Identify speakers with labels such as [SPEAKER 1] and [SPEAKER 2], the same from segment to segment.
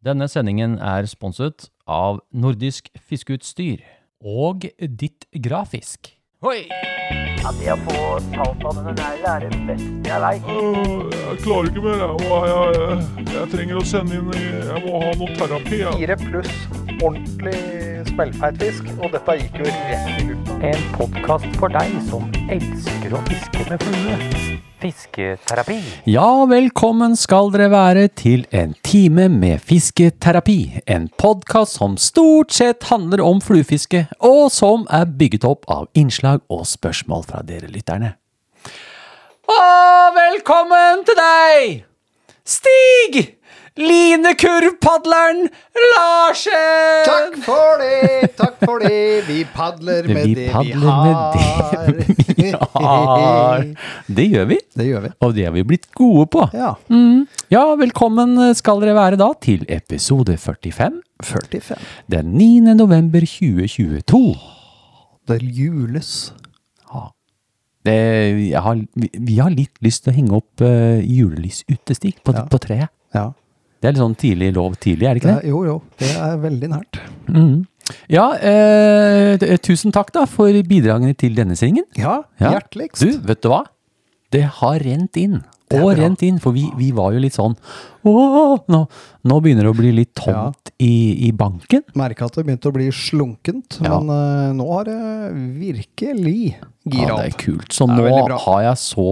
[SPEAKER 1] Denne sendingen er sponset av Nordisk Fiskeutstyr.
[SPEAKER 2] Og ditt grafisk.
[SPEAKER 1] Hoi!
[SPEAKER 3] Det å få talt av denne neglen er det beste jeg veit.
[SPEAKER 4] Øh, Jeg klarer ikke mer. Jeg, Åh, jeg, jeg, jeg trenger å sende inn Jeg må ha noe terapi. Jeg.
[SPEAKER 5] fire pluss ordentlig smellfeit fisk, og dette gikk jo rett i lufta.
[SPEAKER 3] En podkast for deg som elsker å fiske med flue. Fisketerapi.
[SPEAKER 2] Ja, velkommen skal dere være til en time med fisketerapi. En podkast som stort sett handler om fluefiske, og som er bygget opp av innslag og spørsmål fra dere lytterne. Og velkommen til deg, Stig! Linekurvpadleren Larsen!
[SPEAKER 6] Takk for det, takk for det. Vi padler med
[SPEAKER 2] vi
[SPEAKER 6] det vi
[SPEAKER 2] padler
[SPEAKER 6] har.
[SPEAKER 2] med det vi har. Det gjør vi.
[SPEAKER 6] Det gjør vi.
[SPEAKER 2] Og det er vi blitt gode på.
[SPEAKER 6] Ja.
[SPEAKER 2] Mm. ja, velkommen skal dere være da til episode 45.
[SPEAKER 6] 45.
[SPEAKER 2] Den 9. november 2022.
[SPEAKER 6] Det jules.
[SPEAKER 2] Det, jeg har, vi, vi har litt lyst til å henge opp eh, julelys ute, Stig, på, på treet.
[SPEAKER 6] Ja.
[SPEAKER 2] Det er litt sånn tidlig lov tidlig, er det ikke
[SPEAKER 6] Det,
[SPEAKER 2] det?
[SPEAKER 6] jo, jo. Det er veldig nært.
[SPEAKER 2] Ja, eh, t- tusen takk da for bidragene til denne sendingen.
[SPEAKER 6] Ja,
[SPEAKER 2] Ja.
[SPEAKER 6] hjerteligst.
[SPEAKER 2] Du, vet du hva? Det har rent inn.
[SPEAKER 6] Det er
[SPEAKER 2] Og
[SPEAKER 6] bra.
[SPEAKER 2] rent inn, for vi, vi var jo litt sånn Åh, nå, nå begynner det å bli litt tomt i, i banken.
[SPEAKER 6] Merka at det begynte å bli slunkent,
[SPEAKER 2] Ja.
[SPEAKER 6] men eh, nå har det virkelig gira
[SPEAKER 2] Ja, det er
[SPEAKER 6] opp.
[SPEAKER 2] kult. Så
[SPEAKER 6] Det er
[SPEAKER 2] nå
[SPEAKER 6] veldig bra.
[SPEAKER 2] har jeg så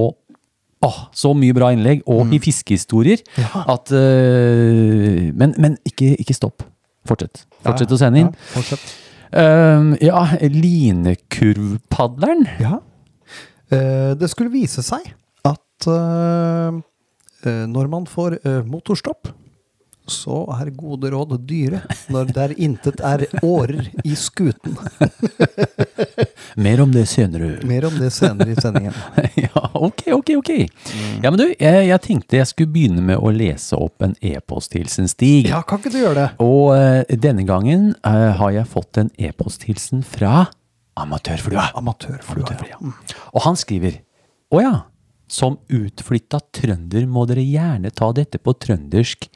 [SPEAKER 2] åh, så mye bra innlegg, og
[SPEAKER 6] Mm.
[SPEAKER 2] i fiskehistorier, at eh, Men, men ikke, ikke stopp. Fortsett. Fortsett å sende inn.
[SPEAKER 6] Ja, fortsett.
[SPEAKER 2] Um, ja, linekurvpadleren.
[SPEAKER 6] Ja. Eh, det skulle vise seg at eh, eh, når man får eh, motorstopp, så er gode råd dyre når der intet er årer i skuten.
[SPEAKER 2] Mer om det senere.
[SPEAKER 6] Mer om det senere i sendingen.
[SPEAKER 2] ja, ok, ok, ok.
[SPEAKER 6] Mm.
[SPEAKER 2] Ja, men du, jeg, jeg tenkte jeg skulle begynne med å lese opp en e-posthilsen, Stig.
[SPEAKER 6] Ja, kan ikke du gjøre det?
[SPEAKER 2] Og eh, denne gangen eh, har jeg fått en e-posthilsen fra Amatørflua.
[SPEAKER 6] Amatørflua.
[SPEAKER 2] Amatørflua. Og han skriver Å ja, som utflytta trønder må dere gjerne ta dette på trøndersk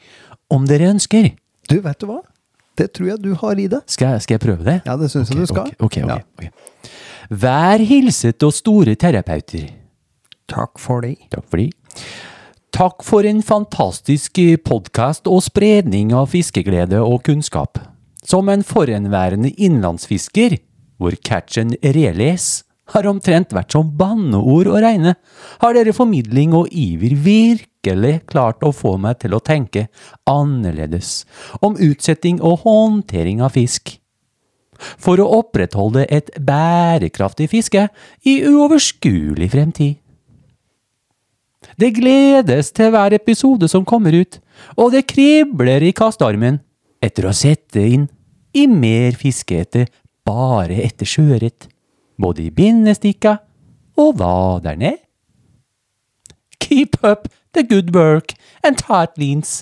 [SPEAKER 2] om dere ønsker.
[SPEAKER 6] Du, vet du hva? Det tror jeg du har i det.
[SPEAKER 2] Skal, jeg- skal jeg prøve det?
[SPEAKER 6] Ja, det syns jeg du skal.
[SPEAKER 2] Ok, ok,
[SPEAKER 6] Ja.
[SPEAKER 2] ok. Vær hilset og store terapeuter.
[SPEAKER 6] Takk for det.
[SPEAKER 2] Takk for det. Takk for en fantastisk podkast og spredning av fiskeglede og kunnskap. Som en forhenværende innlandsfisker, hvor catchen reles har omtrent vært som banneord å regne, har dere formidling og iver virkelig klart å få meg til å tenke annerledes om utsetting og håndtering av fisk for å opprettholde et bærekraftig fiske i uoverskuelig fremtid. Det gledes til hver episode som kommer ut, og det kribler i kastearmen etter å sette inn i mer fiske etter bare etter sjøørret, både i bindestikka og hva der ned. Keep up the good work and tight leans.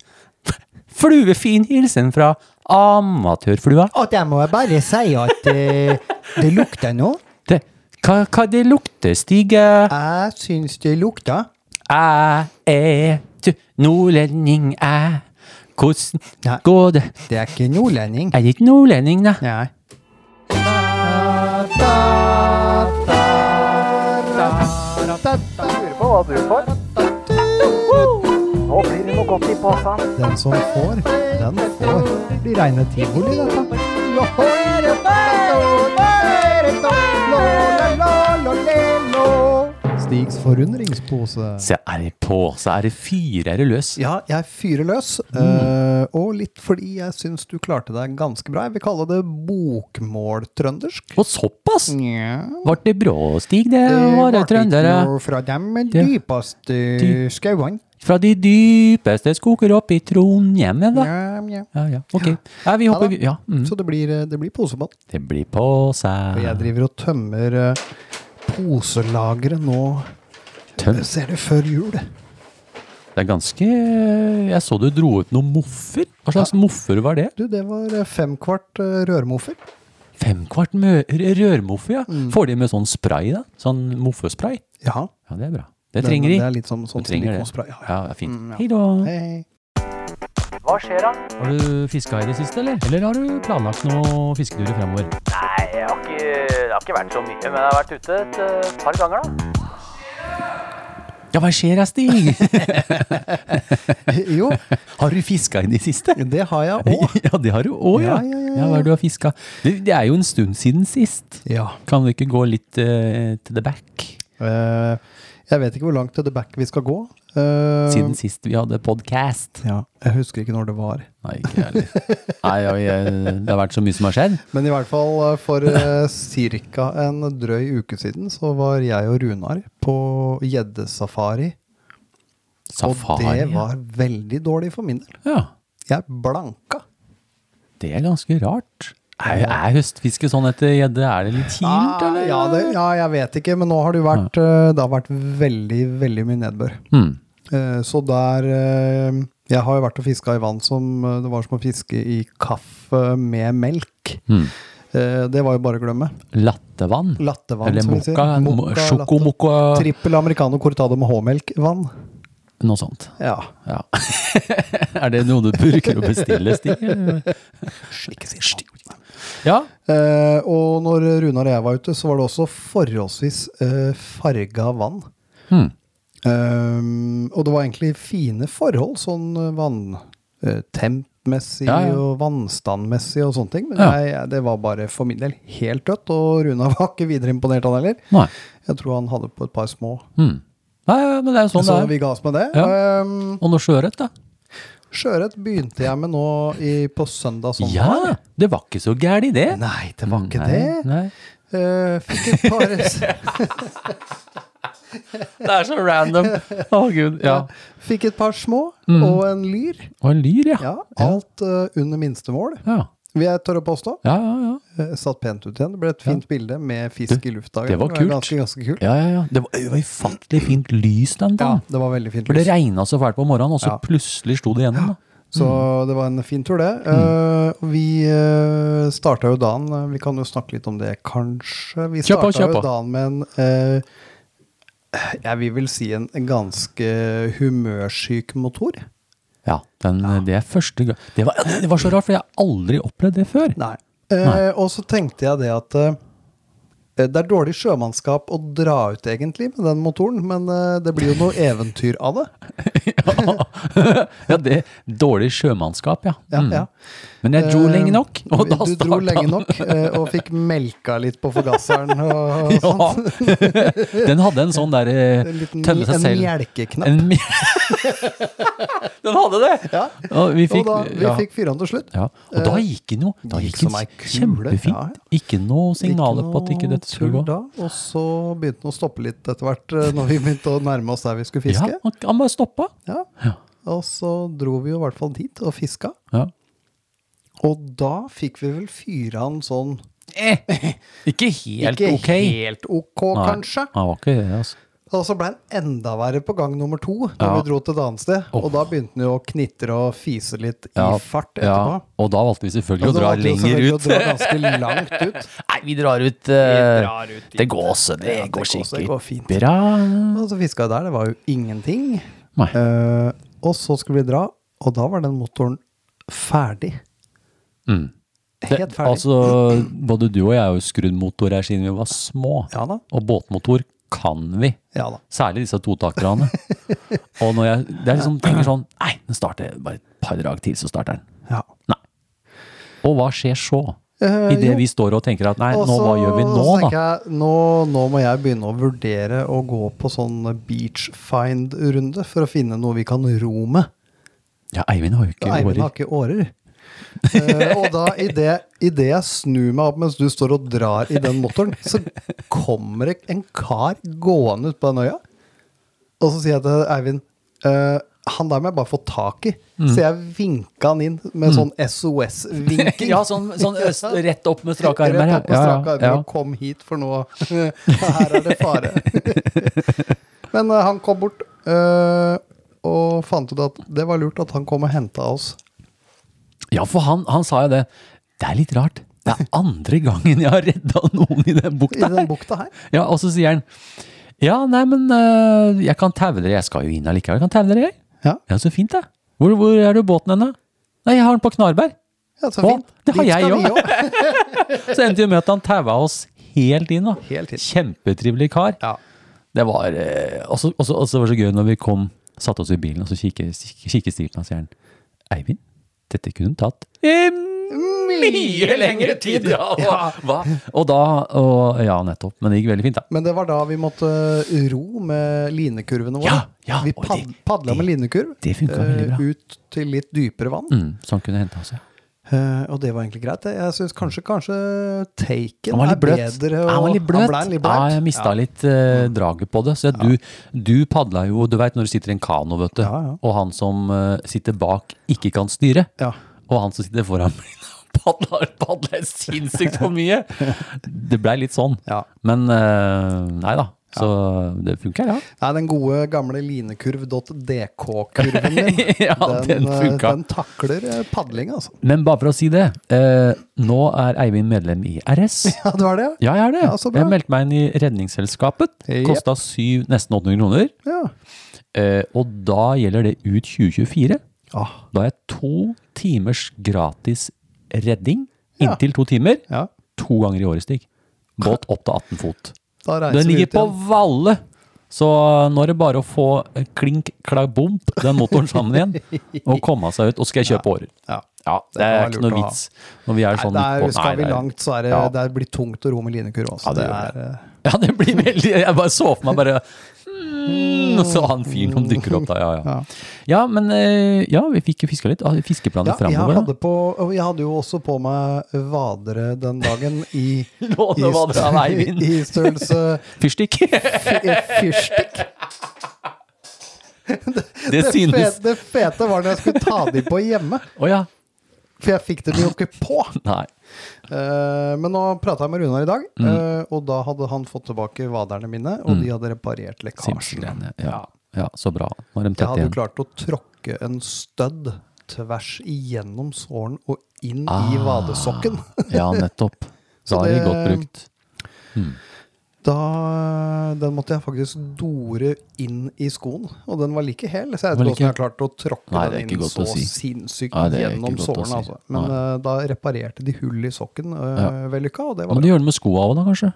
[SPEAKER 2] Fluefin hilsen fra amatørflua.
[SPEAKER 6] At jeg må bare si at eh, det lukter nå.
[SPEAKER 2] Det, hva, hva det lukter, Stig? Jeg
[SPEAKER 6] Jeg syns det lukter.
[SPEAKER 2] er E, t- nordlending, jeg. Hvordan
[SPEAKER 6] Nei.
[SPEAKER 2] går det?
[SPEAKER 6] Det er ikke nordlending.
[SPEAKER 2] Jeg er ikke nordlending, da.
[SPEAKER 6] Nei.
[SPEAKER 5] Lurer på hva du får.
[SPEAKER 3] Nå blir det noe godt i posen.
[SPEAKER 6] Den som får, den får. Det blir reine tivoli, dette. Stigs forundringspose.
[SPEAKER 2] Se, er det på, så er det fyr, er det løs.
[SPEAKER 6] Ja, jeg fyrer løs. eh, og litt fordi jeg syns du klarte deg ganske bra. Jeg vil kalle det bokmåltrøndersk.
[SPEAKER 2] Og såpass!
[SPEAKER 6] Nja
[SPEAKER 2] Ble det brå, Stig, det? var det trøndere
[SPEAKER 6] fra dem
[SPEAKER 2] Det-
[SPEAKER 6] dypeste
[SPEAKER 2] Dy-
[SPEAKER 6] skauene.
[SPEAKER 2] fra de dypeste skoger opp i Trondheimen, da?
[SPEAKER 6] Nja, nja.
[SPEAKER 2] Ja, ja, ok. Ja, vi
[SPEAKER 6] Ja da.
[SPEAKER 2] hopper Ja. Mm.
[SPEAKER 6] Så det blir, eh, det blir posebånd.
[SPEAKER 2] Det blir på
[SPEAKER 6] Og jeg
[SPEAKER 2] seg.
[SPEAKER 6] driver og tømmer eh, poselageret nå.
[SPEAKER 2] Tømt.
[SPEAKER 6] Jeg ser det før jul.
[SPEAKER 2] Det er ganske Jeg så du dro ut noen moffer. Hva slags moffer var det?
[SPEAKER 6] Du, det var eh, femkvart eh, rørmoffer.
[SPEAKER 2] Femkvart mø- r- rørmoffe, ja.
[SPEAKER 6] Mm.
[SPEAKER 2] Får de med sånn spray, da? Sånn moffespray?
[SPEAKER 6] Ja.
[SPEAKER 2] Ja, det er bra. Det
[SPEAKER 6] den-
[SPEAKER 2] trenger de.
[SPEAKER 6] Det er litt som sånn
[SPEAKER 2] trenger det.
[SPEAKER 6] silikonspray. Ja, ja.
[SPEAKER 2] Ja, det er fint. Hei da.
[SPEAKER 6] Hei.
[SPEAKER 3] Hva skjer da?
[SPEAKER 1] Har du fiska i det siste, eller? Eller har du planlagt noen fisketurer fremover?
[SPEAKER 3] Nei, jeg har ikke, det har ikke vært så mye, men jeg har vært ute et eh, par ganger da.
[SPEAKER 2] Ja, hva skjer, Stig?
[SPEAKER 6] Jo,
[SPEAKER 2] har du fiska i det siste?
[SPEAKER 6] det har jeg òg.
[SPEAKER 2] Ja, det har du òg, ja.
[SPEAKER 6] Ja, ja, ja,
[SPEAKER 2] Hva er det du har fiska? Det, det er jo en stund siden sist.
[SPEAKER 6] Ja.
[SPEAKER 2] Kan du ikke gå litt eh, til the back?
[SPEAKER 6] Eh, jeg vet ikke hvor langt til the back vi skal gå. Eh,
[SPEAKER 2] Siden sist vi hadde podcast.
[SPEAKER 6] Ja, jeg husker ikke når det var.
[SPEAKER 2] Nei, ikke jeg heller. Nei, jeg- jeg- det har vært så mye som har skjedd.
[SPEAKER 6] Men i hvert fall eh, for eh, ca. en drøy uke siden så var jeg og Runar på gjeddesafari.
[SPEAKER 2] Safari.
[SPEAKER 6] Og det
[SPEAKER 2] ja.
[SPEAKER 6] var veldig dårlig for min del.
[SPEAKER 2] Ja,
[SPEAKER 6] Jeg blanka.
[SPEAKER 2] det er ganske rart. Er, er høstfiske sånn etter gjedde? Er det litt kilt, eller?
[SPEAKER 6] Ah, ja, det, ja, jeg vet ikke, men nå har det jo vært, eh, det har vært veldig, veldig mye nedbør.
[SPEAKER 2] Hmm.
[SPEAKER 6] Eh, Så der eh, Jeg har jo vært og fiska i vann som eh, Det var som å fiske i kaffe med melk.
[SPEAKER 2] Hmm.
[SPEAKER 6] Eh, Det var jo bare å glemme.
[SPEAKER 2] Lattevann?
[SPEAKER 6] Lattevann,
[SPEAKER 2] Eller
[SPEAKER 6] som vi sier.
[SPEAKER 2] mokka?
[SPEAKER 6] Mokka, latte.
[SPEAKER 2] Sjokomokka?
[SPEAKER 6] Trippel americano cortado med H-melk-vann.
[SPEAKER 2] Noe sånt.
[SPEAKER 6] Ja.
[SPEAKER 2] Ja. er det noe du bruker å bestille, Stig? eller? Ja.
[SPEAKER 6] Eh, og når Runar og jeg var ute, så var det også forholdsvis eh, farga vann.
[SPEAKER 2] Hmm.
[SPEAKER 6] Ehm, og det var egentlig fine forhold, sånn vanntempmessig
[SPEAKER 2] Ja, ja.
[SPEAKER 6] og vannstandmessig og sånne ting. Men
[SPEAKER 2] Ja.
[SPEAKER 6] jeg, det var bare for min del helt dødt, og Runa var ikke videre imponert, han heller.
[SPEAKER 2] Nei.
[SPEAKER 6] Jeg tror han hadde på et par små.
[SPEAKER 2] Hmm. Nei, ja, men det er jo sånn
[SPEAKER 6] så
[SPEAKER 2] det er.
[SPEAKER 6] vi ga oss med det.
[SPEAKER 2] Ja.
[SPEAKER 6] Ehm,
[SPEAKER 2] Og noe sjøørret, da?
[SPEAKER 6] Sjøørret begynte jeg med nå i, på søndag sommer.
[SPEAKER 2] Ja, det var ikke så gæli det.
[SPEAKER 6] Sånn Nei, det var ikke
[SPEAKER 2] Nei,
[SPEAKER 6] det.
[SPEAKER 2] Nei.
[SPEAKER 6] Eh, fikk et par
[SPEAKER 2] Det er så random. Å, gud. Ja.
[SPEAKER 6] Fikk et par små og en lyr.
[SPEAKER 2] Og en lyr, ja.
[SPEAKER 6] Ja, alt eh, under minstemål,
[SPEAKER 2] Ja,
[SPEAKER 6] vil jeg tørre å påstå.
[SPEAKER 2] ja, ja. ja.
[SPEAKER 6] Eh, Satt pent ut igjen. Det ble et fint bilde med fisk i lufta.
[SPEAKER 2] det var kult.
[SPEAKER 6] Ganske, ganske kult.
[SPEAKER 2] ja, ja, ja. Det var det var ufattelig fint lys den
[SPEAKER 6] Ja,
[SPEAKER 2] dagen.
[SPEAKER 6] det var veldig fint.
[SPEAKER 2] For det Mm.
[SPEAKER 6] lys.
[SPEAKER 2] regna så fælt på morgenen, og så
[SPEAKER 6] Ja.
[SPEAKER 2] plutselig sto det igjennom. Da.
[SPEAKER 6] Så det var en fin tur, det.
[SPEAKER 2] Mm.
[SPEAKER 6] Eh, vi uh, starta jo dagen eh, Vi kan jo snakke litt om det, kanskje. Vi
[SPEAKER 2] Kjør på,
[SPEAKER 6] starta
[SPEAKER 2] kjør på.
[SPEAKER 6] jo dagen med en eh, Jeg vil vel si en ganske humørsyk motor.
[SPEAKER 2] Ja, den, Det er første gang det var, det var så rart, for jeg har aldri opplevd det før.
[SPEAKER 6] Nei. Eh, og så tenkte jeg det at eh, det er dårlig sjømannskap å dra ut, egentlig, med den motoren, men eh, det blir jo noe eventyr av det.
[SPEAKER 2] Ja, det Dårlig sjømannskap, ja.
[SPEAKER 6] Ja,
[SPEAKER 2] Mm.
[SPEAKER 6] ja.
[SPEAKER 2] Men jeg dro
[SPEAKER 6] Eh,
[SPEAKER 2] lenge nok, og da
[SPEAKER 6] Du dro
[SPEAKER 2] starta
[SPEAKER 6] lenge nok eh, og fikk melka litt på forgasseren. Og, og
[SPEAKER 2] Ja.
[SPEAKER 6] sånt.
[SPEAKER 2] Den hadde en sånn der eh,
[SPEAKER 6] En liten
[SPEAKER 2] tønne seg
[SPEAKER 6] en
[SPEAKER 2] selv.
[SPEAKER 6] melkeknapp.
[SPEAKER 2] En mj- den hadde det!
[SPEAKER 6] Ja.
[SPEAKER 2] Og vi fikk,
[SPEAKER 6] og da, vi
[SPEAKER 2] ja.
[SPEAKER 6] fikk fyra den til slutt.
[SPEAKER 2] Ja, og da gikk den jo da
[SPEAKER 6] Eh, gikk
[SPEAKER 2] gikk den
[SPEAKER 6] som ei kule,
[SPEAKER 2] kjempefint.
[SPEAKER 6] ja, ja.
[SPEAKER 2] Ikke noe signaler
[SPEAKER 6] Ikke
[SPEAKER 2] på at ikke
[SPEAKER 6] noe
[SPEAKER 2] dette skulle
[SPEAKER 6] tull
[SPEAKER 2] gå.
[SPEAKER 6] Da, og så begynte den å stoppe litt etter hvert, eh, når vi begynte å nærme oss der vi skulle
[SPEAKER 2] Ja,
[SPEAKER 6] fiske.
[SPEAKER 2] han, han bare stoppa.
[SPEAKER 6] Ja.
[SPEAKER 2] Ja.
[SPEAKER 6] Og så dro vi jo i hvert fall dit og fiska.
[SPEAKER 2] Ja.
[SPEAKER 6] Og da fikk vi vel fyra den sånn
[SPEAKER 2] Ikke helt
[SPEAKER 6] Ikke
[SPEAKER 2] ok.
[SPEAKER 6] helt ok,
[SPEAKER 2] Nei,
[SPEAKER 6] kanskje.
[SPEAKER 2] Han var ikke det, altså.
[SPEAKER 6] Og så ble den enda verre på gang nummer to, da
[SPEAKER 2] Ja.
[SPEAKER 6] vi dro til et annet sted. Og da begynte den jo å knitre og fise litt i
[SPEAKER 2] Ja,
[SPEAKER 6] fart
[SPEAKER 2] Ja,
[SPEAKER 6] etterpå.
[SPEAKER 2] og da valgte vi selvfølgelig
[SPEAKER 6] Og
[SPEAKER 2] å
[SPEAKER 6] da
[SPEAKER 2] dra
[SPEAKER 6] valgte vi
[SPEAKER 2] lenger
[SPEAKER 6] selvfølgelig
[SPEAKER 2] ut.
[SPEAKER 6] å dra ganske langt ut.
[SPEAKER 2] Nei, vi drar ut. eh, det går også, det,
[SPEAKER 6] Ja, det
[SPEAKER 2] går
[SPEAKER 6] går også, det
[SPEAKER 2] sikkert
[SPEAKER 6] går fint.
[SPEAKER 2] bra.
[SPEAKER 6] Og så fiska jeg der, det var jo ingenting.
[SPEAKER 2] Nei.
[SPEAKER 6] Eh, og så skulle vi dra, og da var den motoren ferdig.
[SPEAKER 2] Mm. Det,
[SPEAKER 6] Helt ferdig.
[SPEAKER 2] altså, både du og jeg har jo skrudd motor her siden vi var små.
[SPEAKER 6] Ja da.
[SPEAKER 2] Og båtmotor kan vi.
[SPEAKER 6] Ja da.
[SPEAKER 2] Særlig disse totakerne. og når jeg det er liksom, tenker sånn Nei, den starter bare et par drag til, så starter den.
[SPEAKER 6] Ja.
[SPEAKER 2] Nei. Og hva skjer så?
[SPEAKER 6] Eh,
[SPEAKER 2] Idet
[SPEAKER 6] jo.
[SPEAKER 2] vi står og tenker at nei,
[SPEAKER 6] Og
[SPEAKER 2] nå,
[SPEAKER 6] så-
[SPEAKER 2] hva gjør vi nå,
[SPEAKER 6] så tenker
[SPEAKER 2] da?
[SPEAKER 6] Jeg, nå, nå må jeg begynne å vurdere å gå på sånn beach find-runde for å finne noe vi kan ro med.
[SPEAKER 2] Ja, Eivind har jo ikke
[SPEAKER 6] Eivind har
[SPEAKER 2] årer.
[SPEAKER 6] ikke årer. Eh, og da, idet det jeg snur meg opp mens du står og drar i den motoren, så kommer det en kar gående ut på den øya. Og så sier jeg til Eivind eh, Han der må jeg bare få tak i.
[SPEAKER 2] Mm.
[SPEAKER 6] Så jeg vinka han inn med sånn SOS-vinking.
[SPEAKER 2] Ja, sånn, sånn øst, rett opp med strake
[SPEAKER 6] Rett
[SPEAKER 2] armer. ja.
[SPEAKER 6] opp med strake armer
[SPEAKER 2] Ja,
[SPEAKER 6] og kom hit, for nå Her er det fare. Men eh, han kom bort eh, og fant ut at det var lurt at han kom og henta oss.
[SPEAKER 2] ja. ja, for han, han sa jo det. Det er litt rart. Det er andre gangen jeg har redda noen i den
[SPEAKER 6] I
[SPEAKER 2] bukta
[SPEAKER 6] den
[SPEAKER 2] her.
[SPEAKER 6] bukta her.
[SPEAKER 2] Ja, og så sier han Ja, nei, men øh, jeg kan taue dere. Jeg skal jo inn allikevel. Jeg kan taue dere, jeg.
[SPEAKER 6] Ja.
[SPEAKER 2] Ja, så fint, da. Hvor, hvor er du båten hen, da? Nei, jeg har den på knarberg.
[SPEAKER 6] Ja, så
[SPEAKER 2] Å,
[SPEAKER 6] fint.
[SPEAKER 2] det har
[SPEAKER 6] Dit
[SPEAKER 2] jeg
[SPEAKER 6] skal vi
[SPEAKER 2] også. Så endte vi med at han taua oss helt inn. da.
[SPEAKER 6] Helt inn.
[SPEAKER 2] Kjempetrivelig kar.
[SPEAKER 6] Ja.
[SPEAKER 2] Det var, eh, også, også, også det var så gøy når vi kom, satte oss i bilen og så kikker kikker Stig på meg og sier han, Eivind, dette kunne tatt eh, mye lengre tid! Ja, hva- hva? Og da og, Ja, nettopp. Men det gikk veldig fint, da.
[SPEAKER 6] Men det var da vi måtte ro med linekurvene våre.
[SPEAKER 2] Ja, ja,
[SPEAKER 6] vi
[SPEAKER 2] og
[SPEAKER 6] pad
[SPEAKER 2] det-
[SPEAKER 6] padla med linekurv eh,
[SPEAKER 2] det funket veldig bra.
[SPEAKER 6] ut til litt dypere vann.
[SPEAKER 2] Mm, så han kunne hente oss, ja.
[SPEAKER 6] Eh, og det var egentlig greit. Jeg syns kanskje, kanskje taken
[SPEAKER 2] Han var
[SPEAKER 6] er
[SPEAKER 2] litt bløt.
[SPEAKER 6] bedre.
[SPEAKER 2] han var
[SPEAKER 6] og-
[SPEAKER 2] litt bløt.
[SPEAKER 6] ble litt
[SPEAKER 2] Ja,
[SPEAKER 6] bløt. Mm.
[SPEAKER 2] jeg mista litt eh, draget på det. Så jeg- du, du padla jo Du veit når du sitter i en kano, vet du.
[SPEAKER 6] Ja, ja.
[SPEAKER 2] Og han som eh, sitter bak, ikke kan styre.
[SPEAKER 6] Ja.
[SPEAKER 2] Og han som sitter foran meg, padler, padler sinnssykt for mye. Det blei litt sånn.
[SPEAKER 6] Ja.
[SPEAKER 2] Men eh, nei da. Så det funker, ja.
[SPEAKER 6] Nei, den gode gamle linekurv.dk-kurven min,
[SPEAKER 2] Ja, den
[SPEAKER 6] eh,
[SPEAKER 2] funka.
[SPEAKER 6] den takler eh, padling, altså.
[SPEAKER 2] Men bare for å si det. eh, nå er Eivind medlem i RS.
[SPEAKER 6] Ja, det var det, ja.
[SPEAKER 2] Ja, jeg er det.
[SPEAKER 6] Ja, så bra.
[SPEAKER 2] jeg meldte meg inn i Redningsselskapet.
[SPEAKER 6] Jep.
[SPEAKER 2] Kosta syv- nesten 800 kroner.
[SPEAKER 6] ja.
[SPEAKER 2] Eh, og da gjelder det ut 2024.
[SPEAKER 6] Ah,
[SPEAKER 2] Da har jeg to timers gratis redding.
[SPEAKER 6] Ja.
[SPEAKER 2] Inntil to timer.
[SPEAKER 6] ja.
[SPEAKER 2] To ganger i året, Stig. Båt opp til 18 fot.
[SPEAKER 6] Da reiser
[SPEAKER 2] Den
[SPEAKER 6] vi
[SPEAKER 2] ligger
[SPEAKER 6] ut
[SPEAKER 2] på
[SPEAKER 6] igjen.
[SPEAKER 2] Valle! Så nå er det bare å få klink klabomp den motoren sammen igjen, og komme seg ut. Og så skal jeg kjøpe årer.
[SPEAKER 6] Ja.
[SPEAKER 2] Ja, det
[SPEAKER 6] kan
[SPEAKER 2] er
[SPEAKER 6] være
[SPEAKER 2] ikke noe
[SPEAKER 6] lurt å ha.
[SPEAKER 2] vits når vi er
[SPEAKER 6] Nei,
[SPEAKER 2] sånn
[SPEAKER 6] det er,
[SPEAKER 2] midt på- Nei,
[SPEAKER 6] skal vi
[SPEAKER 2] det er-
[SPEAKER 6] langt, så er det,
[SPEAKER 2] Ja.
[SPEAKER 6] det blir tungt å ro med linekurv. Altså.
[SPEAKER 2] Ja, det gjør
[SPEAKER 6] det er, eh,
[SPEAKER 2] Ja, det blir veldig Jeg bare så for meg bare mm, Og så han fyren som dukker opp da, ja, ja. Ja, men eh, ja, vi fikk jo fiska litt. Ah, Fiskeplaner
[SPEAKER 6] Ja, jeg
[SPEAKER 2] framover.
[SPEAKER 6] hadde, på, og jeg hadde jo også på meg vadere den dagen i,
[SPEAKER 2] Lånevadere av
[SPEAKER 6] i,
[SPEAKER 2] Eivind.
[SPEAKER 6] i størrelse
[SPEAKER 2] Fyrstikk.
[SPEAKER 6] fyrstikk.
[SPEAKER 2] Det
[SPEAKER 6] Det,
[SPEAKER 2] synes.
[SPEAKER 6] fe- det fete var når jeg skulle ta de på hjemme,
[SPEAKER 2] Å ja.
[SPEAKER 6] for jeg fikk dem jo ikke på.
[SPEAKER 2] Nei.
[SPEAKER 6] Eh, men nå prata jeg med Runar i dag,
[SPEAKER 2] Mm.
[SPEAKER 6] eh, og da hadde han fått tilbake vaderne mine, og de hadde reparert lekkasjen.
[SPEAKER 2] Simpelthen. Ja. ja, så bra. Nå er de
[SPEAKER 6] Jeg
[SPEAKER 2] tett
[SPEAKER 6] hadde jo
[SPEAKER 2] igjen.
[SPEAKER 6] klart å tråkke en stødd tvers igjennom såren og inn i vadesokken.
[SPEAKER 2] Ah, Ja, nettopp.
[SPEAKER 6] Så
[SPEAKER 2] Da er de
[SPEAKER 6] det-
[SPEAKER 2] godt brukt. Hmm.
[SPEAKER 6] Da, eh, den måtte jeg faktisk dore inn i skoen, og den var like hel. Så
[SPEAKER 2] Var
[SPEAKER 6] jeg vet ikke
[SPEAKER 2] like-
[SPEAKER 6] hvordan jeg klarte å tråkke
[SPEAKER 2] Nei, det er
[SPEAKER 6] den
[SPEAKER 2] ikke
[SPEAKER 6] inn
[SPEAKER 2] godt
[SPEAKER 6] så
[SPEAKER 2] å si.
[SPEAKER 6] sinnssykt
[SPEAKER 2] Nei, det er ikke
[SPEAKER 6] gjennom
[SPEAKER 2] godt å
[SPEAKER 6] sårene.
[SPEAKER 2] si.
[SPEAKER 6] Altså. Men eh, da reparerte de hull i sokken uh,
[SPEAKER 2] Ja.
[SPEAKER 6] vellykka, og det
[SPEAKER 2] Må du
[SPEAKER 6] var bra.
[SPEAKER 2] gjøre det med skoa òg, da, kanskje?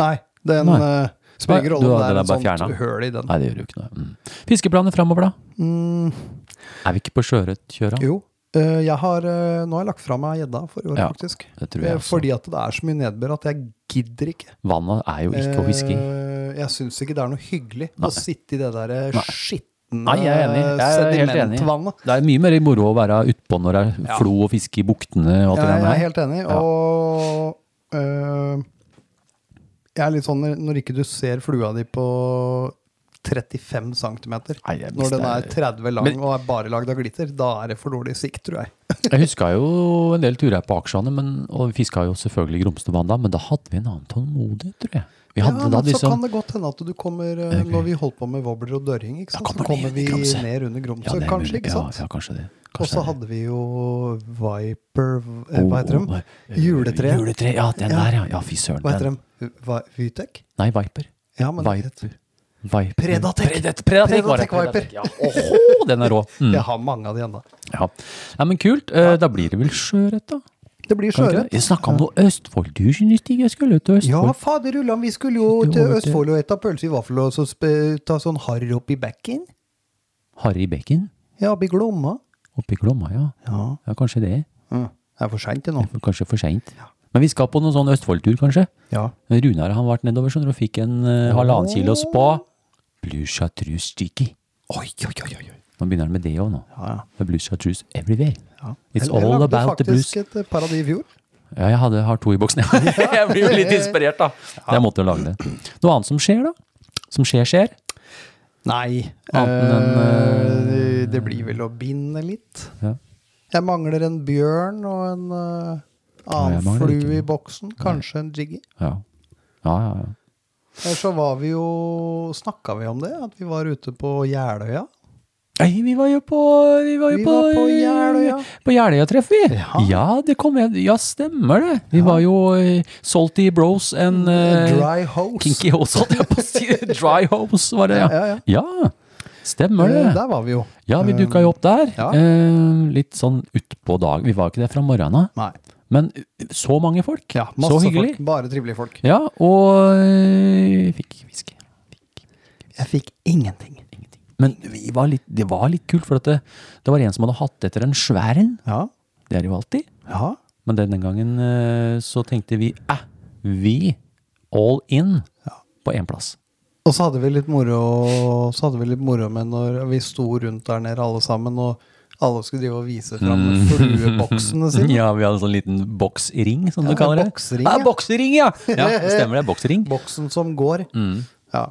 [SPEAKER 6] Nei, den
[SPEAKER 2] Nei.
[SPEAKER 6] eh, spiller
[SPEAKER 2] Nei,
[SPEAKER 6] ingen
[SPEAKER 2] du
[SPEAKER 6] rolle om
[SPEAKER 2] hadde
[SPEAKER 6] det er
[SPEAKER 2] den
[SPEAKER 6] et
[SPEAKER 2] bare
[SPEAKER 6] sånt
[SPEAKER 2] fjernet.
[SPEAKER 6] høl sånn i den.
[SPEAKER 2] Nei, det gjør jo ikke noe. Mm. Fiskeplaner framover, da? Er vi ikke på sjøørretkjøra?
[SPEAKER 6] Mm, Jo, eh, jeg har, eh, nå har jeg lagt fra meg gjedda for i år,
[SPEAKER 2] Ja,
[SPEAKER 6] faktisk.
[SPEAKER 2] det tror jeg
[SPEAKER 6] Eh,
[SPEAKER 2] også.
[SPEAKER 6] Fordi at det er så mye nedbør at jeg gidder ikke.
[SPEAKER 2] Vannet er jo ikke å fiske i.
[SPEAKER 6] Eh, Jeg syns ikke det er noe hyggelig å sitte i det der eh,
[SPEAKER 2] Nei.
[SPEAKER 6] skitne
[SPEAKER 2] Nei, jeg er enig. Jeg er helt enig.
[SPEAKER 6] sedimentvannet.
[SPEAKER 2] Det er mye mer moro å være utpå når det er flo og fiske i buktene og alt det
[SPEAKER 6] Jeg, jeg
[SPEAKER 2] der.
[SPEAKER 6] er helt enig.
[SPEAKER 2] Ja.
[SPEAKER 6] Og øh, jeg er litt sånn når- når ikke du ser flua di på 35 cm.
[SPEAKER 2] Nei, jeg
[SPEAKER 6] Når den er
[SPEAKER 2] mister-
[SPEAKER 6] 30 lang
[SPEAKER 2] Men-
[SPEAKER 6] og er bare lagd av glitter, da er det for dårlig sikt, tror jeg.
[SPEAKER 2] Jeg huska jo en del turer på aksjene, men, og vi fiska jo selvfølgelig Gromsdalbanen da, men da hadde vi en annen tålmodighet, tror jeg. Vi
[SPEAKER 6] Ja,
[SPEAKER 2] hadde
[SPEAKER 6] men
[SPEAKER 2] da
[SPEAKER 6] så kan
[SPEAKER 2] liksom
[SPEAKER 6] det godt hende at du kommer øh, Når vi holdt på med wobbler og dørring, ikke sant? så
[SPEAKER 2] kommer
[SPEAKER 6] kommer
[SPEAKER 2] ned
[SPEAKER 6] vi
[SPEAKER 2] under Gromsø.
[SPEAKER 6] ned under
[SPEAKER 2] ja,
[SPEAKER 6] Gromsø,
[SPEAKER 2] det er
[SPEAKER 6] kanskje.
[SPEAKER 2] mulig.
[SPEAKER 6] ikke sant?
[SPEAKER 2] Ja, ja, kanskje det.
[SPEAKER 6] Og så hadde vi jo Viper eh, Hva heter de? Juletre.
[SPEAKER 2] Oh, Juletre, ja, den
[SPEAKER 6] Ja.
[SPEAKER 2] der, ja. Ja, fy søren.
[SPEAKER 6] Hva heter
[SPEAKER 2] den-
[SPEAKER 6] de? Vi- Vitek?
[SPEAKER 2] Nei, Viper.
[SPEAKER 6] Ja, men
[SPEAKER 2] Viper. Viper.
[SPEAKER 6] Predatec.
[SPEAKER 2] Predat- Predatec var det.
[SPEAKER 6] Predatec Viper.
[SPEAKER 2] Predatec, Ja. Åhå, den er rå. Mm,
[SPEAKER 6] Jeg har mange av de ennå.
[SPEAKER 2] ja. Nei, men kult. Eh, Da blir det vel sjøørret, da?
[SPEAKER 6] Det blir
[SPEAKER 2] Kan ikke det?
[SPEAKER 6] sjøørret.
[SPEAKER 2] Jeg snakka om noe Østfold-tur, synes jeg. Jeg skulle til
[SPEAKER 6] Ja,
[SPEAKER 2] Østfold.
[SPEAKER 6] fader Ulland, vi skulle jo
[SPEAKER 2] Skulle
[SPEAKER 6] til
[SPEAKER 2] over til-
[SPEAKER 6] Østfold og ete pølse i vaffel og så spe- ta sånn harr opp i bekken.
[SPEAKER 2] Harry Bekken
[SPEAKER 6] Ja, opp i Glomma.
[SPEAKER 2] oppe i Glomma, ja.
[SPEAKER 6] Ja. mm.
[SPEAKER 2] Ja, kanskje det.
[SPEAKER 6] Det er for seint det nå.
[SPEAKER 2] Men Kanskje for seint. Men vi skal på noen sånn Østfold-tur, kanskje.
[SPEAKER 6] Ja.
[SPEAKER 2] Runar han vært nedover skjønner du, og fikk en eh, halvannen kilos på Blue Chartreuse Sticky.
[SPEAKER 6] Oi, oi, oi, oi.
[SPEAKER 2] Nå begynner han med det òg, nå.
[SPEAKER 6] Ja, ja.
[SPEAKER 2] Med Blue Chartreuse everywhere.
[SPEAKER 6] Ja.
[SPEAKER 2] It's
[SPEAKER 6] Jeg- jeg
[SPEAKER 2] all
[SPEAKER 6] lagde
[SPEAKER 2] about the blues.
[SPEAKER 6] faktisk et par av de i fjor.
[SPEAKER 2] Ja, jeg hadde, har to i boksen. jeg. jeg blir jo litt inspirert, da. Jeg måtte jo lage det. Noe annet som skjer, da? Som skjer, skjer.
[SPEAKER 6] Nei.
[SPEAKER 2] Anten
[SPEAKER 6] eh, det blir vel å binde litt.
[SPEAKER 2] Ja.
[SPEAKER 6] Jeg mangler en bjørn og en eh,
[SPEAKER 2] jeg
[SPEAKER 6] annen
[SPEAKER 2] mangler ikke
[SPEAKER 6] flue
[SPEAKER 2] noe.
[SPEAKER 6] i boksen. Kanskje en jiggy.
[SPEAKER 2] Ja. Ja, ja, ja.
[SPEAKER 6] Eller så var vi jo Snakka vi om det? At vi var ute på Jeløya?
[SPEAKER 2] Nei, vi var jo på Vi var jo
[SPEAKER 6] Vi
[SPEAKER 2] på,
[SPEAKER 6] var på Jeløya.
[SPEAKER 2] På Jeløya-treff, vi. Ja.
[SPEAKER 6] Ja.
[SPEAKER 2] det kom jeg Ja, stemmer det. Vi var jo eh, Salty Bros and eh,
[SPEAKER 6] Dry hose.
[SPEAKER 2] Kinky Hose, holdt jeg på å si. Dry Hose, var det, ja.
[SPEAKER 6] Ja, ja,
[SPEAKER 2] ja. Stemmer det.
[SPEAKER 6] Eh, Der var vi jo.
[SPEAKER 2] Ja, vi dukka jo opp der.
[SPEAKER 6] Ja.
[SPEAKER 2] Eh, litt sånn utpå dag. Vi var ikke der fra morgenen av.
[SPEAKER 6] Nei.
[SPEAKER 2] Men så mange folk.
[SPEAKER 6] Ja, masse
[SPEAKER 2] så hyggelig.
[SPEAKER 6] folk. Bare trivelige folk.
[SPEAKER 2] Ja, og eh, fikk whisky.
[SPEAKER 6] Jeg fikk ingenting.
[SPEAKER 2] Men vi var litt, det var litt kult, for at det, det var en som hadde hatt etter en svær en.
[SPEAKER 6] Ja.
[SPEAKER 2] Det er det jo alltid.
[SPEAKER 6] Ja.
[SPEAKER 2] Men denne gangen eh, så tenkte vi eh, vi all in på én plass.
[SPEAKER 6] Og så hadde vi litt moro Så hadde vi litt moro med når vi sto rundt der nede alle sammen, og alle skulle drive og vise fram flueboksene sine.
[SPEAKER 2] Mm. Ja, vi hadde en sånn liten boksring, som
[SPEAKER 6] Ja,
[SPEAKER 2] du kaller det.
[SPEAKER 6] boksring,
[SPEAKER 2] ja.
[SPEAKER 6] ja.
[SPEAKER 2] Boksering, ja! ja det stemmer det. Boksring.
[SPEAKER 6] Boksen som går. Ja.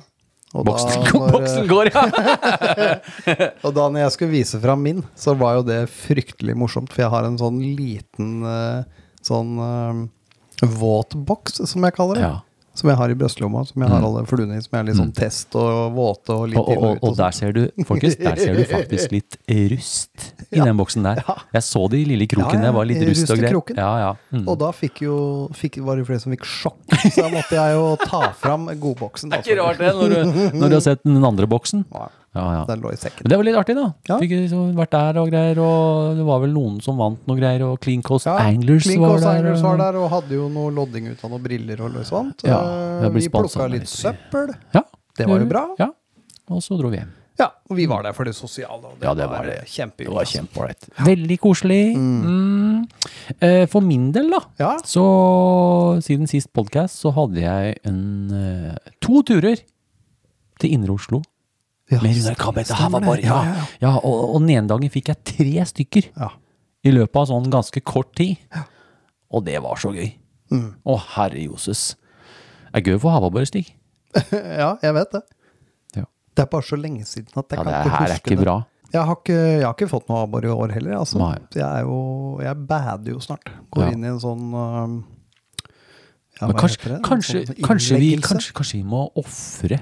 [SPEAKER 6] Og
[SPEAKER 2] Mm.
[SPEAKER 6] da,
[SPEAKER 2] Boksen,
[SPEAKER 6] når,
[SPEAKER 2] boksen går, ja!
[SPEAKER 6] og da når jeg skulle vise fram min, så var jo det fryktelig morsomt, for jeg har en sånn liten eh, sånn eh, våt boks, som jeg kaller det.
[SPEAKER 2] Ja. Mm.
[SPEAKER 6] Som jeg har i brystlomma, som jeg har alle fluene i, som jeg er litt sånn test og våte og litt
[SPEAKER 2] Og, og,
[SPEAKER 6] inn og sånn.
[SPEAKER 2] og,
[SPEAKER 6] ut.
[SPEAKER 2] og der ser du folkens, der ser du faktisk litt rust i den boksen der. Jeg så det i lille kroken.
[SPEAKER 6] Ja, ja,
[SPEAKER 2] Det var litt
[SPEAKER 6] i
[SPEAKER 2] rust og greier.
[SPEAKER 6] rustekroken.
[SPEAKER 2] Ja, ja. Mm.
[SPEAKER 6] Og da fikk jo, fikk, var det flere som fikk sjokk, så da måtte jeg jo ta fram godboksen.
[SPEAKER 2] Det er ikke rart det, når du, når du har sett den andre boksen. Ja, ja.
[SPEAKER 6] Den lå i sekken.
[SPEAKER 2] Men det var litt artig, da.
[SPEAKER 6] Ja.
[SPEAKER 2] Fikk liksom vært der og greier, og det var vel noen som vant noe greier, og Clean Coast
[SPEAKER 6] Ja,
[SPEAKER 2] Anglers
[SPEAKER 6] Clean
[SPEAKER 2] var
[SPEAKER 6] Coast
[SPEAKER 2] der.
[SPEAKER 6] Anglers
[SPEAKER 2] og-
[SPEAKER 6] var der og hadde jo noe lodding ut av noen briller og løsvant.
[SPEAKER 2] Ja,
[SPEAKER 6] Eh,
[SPEAKER 2] jeg blir
[SPEAKER 6] vi
[SPEAKER 2] sponset
[SPEAKER 6] plukka
[SPEAKER 2] av
[SPEAKER 6] litt
[SPEAKER 2] litt.
[SPEAKER 6] søppel.
[SPEAKER 2] Ja.
[SPEAKER 6] Det var jo bra.
[SPEAKER 2] Ja. Og så dro vi hjem.
[SPEAKER 6] Ja, og vi var der for det sosiale. Og det
[SPEAKER 2] Ja, det var det.
[SPEAKER 6] Kjempehyggelig. altså.
[SPEAKER 2] Veldig koselig. Mm. Eh, For min del, da,
[SPEAKER 6] altså. Ja.
[SPEAKER 2] så siden sist podkast så hadde jeg en, eh, to turer til Indre Oslo.
[SPEAKER 6] Ja,
[SPEAKER 2] Med Runar Kabel. Det her var bare, ja,
[SPEAKER 6] Ja,
[SPEAKER 2] ja, og, og den ene dagen fikk jeg tre stykker
[SPEAKER 6] Ja.
[SPEAKER 2] i løpet av sånn ganske kort tid. Og det var så gøy.
[SPEAKER 6] Mm.
[SPEAKER 2] Å, herre joses. Det er gøy å få havabbårestig.
[SPEAKER 6] ja, jeg vet det.
[SPEAKER 2] Ja.
[SPEAKER 6] Det er bare så lenge siden at jeg
[SPEAKER 2] Ja,
[SPEAKER 6] kan
[SPEAKER 2] det
[SPEAKER 6] ikke
[SPEAKER 2] her
[SPEAKER 6] huske
[SPEAKER 2] er ikke
[SPEAKER 6] det.
[SPEAKER 2] bra.
[SPEAKER 6] Jeg har ikke, jeg har ikke fått noe abbor i år heller. Altså.
[SPEAKER 2] Nei.
[SPEAKER 6] Jeg er jo Jeg bader jo snart. Går
[SPEAKER 2] Ja.
[SPEAKER 6] inn i en sånn um, ja,
[SPEAKER 2] Men
[SPEAKER 6] hva
[SPEAKER 2] kanskje,
[SPEAKER 6] heter det? En
[SPEAKER 2] kanskje,
[SPEAKER 6] sånn
[SPEAKER 2] kanskje, vi,
[SPEAKER 6] innleggelse?
[SPEAKER 2] kanskje, kanskje vi må ofre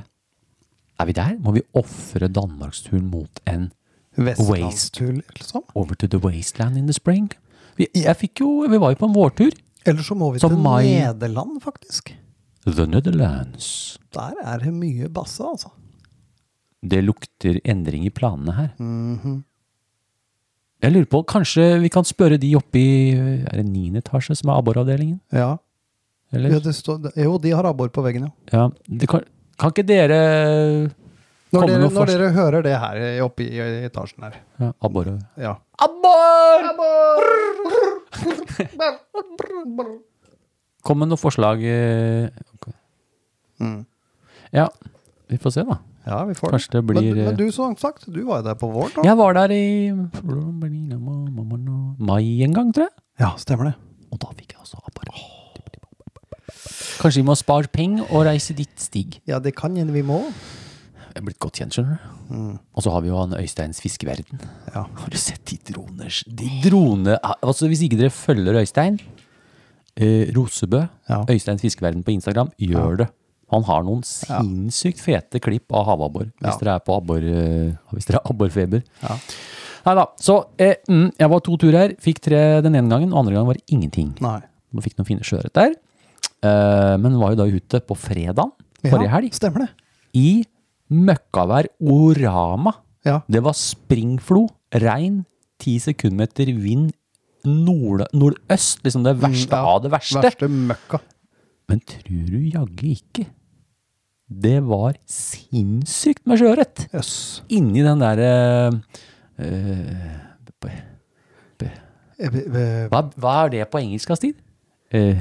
[SPEAKER 2] Er vi der? Må vi ofre danmarksturen mot en
[SPEAKER 6] Vestlandstur, liksom.
[SPEAKER 2] Over to the Wasteland in the Spring? Vi, jeg fikk jo, vi var jo på en vårtur.
[SPEAKER 6] Eller så må vi
[SPEAKER 2] Som
[SPEAKER 6] til
[SPEAKER 2] mai.
[SPEAKER 6] Nederland, faktisk.
[SPEAKER 2] The Netherlands.
[SPEAKER 6] Der er det mye basse, altså.
[SPEAKER 2] Det lukter endring i planene her.
[SPEAKER 6] Mhm.
[SPEAKER 2] Jeg lurer på, kanskje vi kan spørre de oppe i Er det 9. etasje som er abboravdelingen?
[SPEAKER 6] Ja.
[SPEAKER 2] Eller?
[SPEAKER 6] Ja, det står, det- jo, de har abbor på veggen, jo.
[SPEAKER 2] Ja, det kan, kan ikke dere
[SPEAKER 6] Når,
[SPEAKER 2] komme
[SPEAKER 6] dere,
[SPEAKER 2] med
[SPEAKER 6] når
[SPEAKER 2] forslag?
[SPEAKER 6] dere hører det her eh, oppe i i etasjen her.
[SPEAKER 2] Ja, abbor-
[SPEAKER 6] Ja.
[SPEAKER 2] Kom med noen forslag. eh, ok. Ja, vi får se, da.
[SPEAKER 6] Mm. ja, vi får
[SPEAKER 2] Kanskje det blir,
[SPEAKER 6] men,
[SPEAKER 2] eh,
[SPEAKER 6] men du, som sagt, du var jo der på våren. da.
[SPEAKER 2] Jeg var der i mai en gang, tror jeg.
[SPEAKER 6] ja, stemmer det.
[SPEAKER 2] Og da fikk jeg også abbor. Kanskje vi må spare penger og reise dit stig.
[SPEAKER 6] Ja, det kan hende vi må.
[SPEAKER 2] Jeg er blitt godt kjent, skjønner du.
[SPEAKER 6] Mm.
[SPEAKER 2] Og så har vi jo han Øysteins fiskeverden.
[SPEAKER 6] Ja.
[SPEAKER 2] Har du sett de droner? De drone... Altså, hvis ikke dere følger Øystein, eh, Rosebø,
[SPEAKER 6] Ja.
[SPEAKER 2] Øysteins fiskeverden på Instagram, gjør det. Han har noen sinnssykt fete klipp av havabbor, hvis
[SPEAKER 6] Ja.
[SPEAKER 2] dere er på abbor, eh, hvis dere har abborfeber. Nei da. Så eh, mm, jeg var to turer, fikk tre den ene gangen, og andre gangen var det ingenting.
[SPEAKER 6] Nei.
[SPEAKER 2] Man fikk noen fine sjøørret der. Eh, men var jo da ute på fredagen forrige
[SPEAKER 6] ja,
[SPEAKER 2] helg
[SPEAKER 6] Stemmer det.
[SPEAKER 2] i møkkavær orama.
[SPEAKER 6] Ja.
[SPEAKER 2] Det var springflo, regn, ti sekundmeter vind, nord, nordøst. Liksom det verste
[SPEAKER 6] Mm, Ja,
[SPEAKER 2] av det verste.
[SPEAKER 6] Verste møkka.
[SPEAKER 2] Men tror du jaggu ikke det var sinnssykt med sjøørret
[SPEAKER 6] Jøss.
[SPEAKER 2] inni den derre
[SPEAKER 6] Eh, b- b-
[SPEAKER 2] hva, hva er det på engelsk, Astrid? Eh,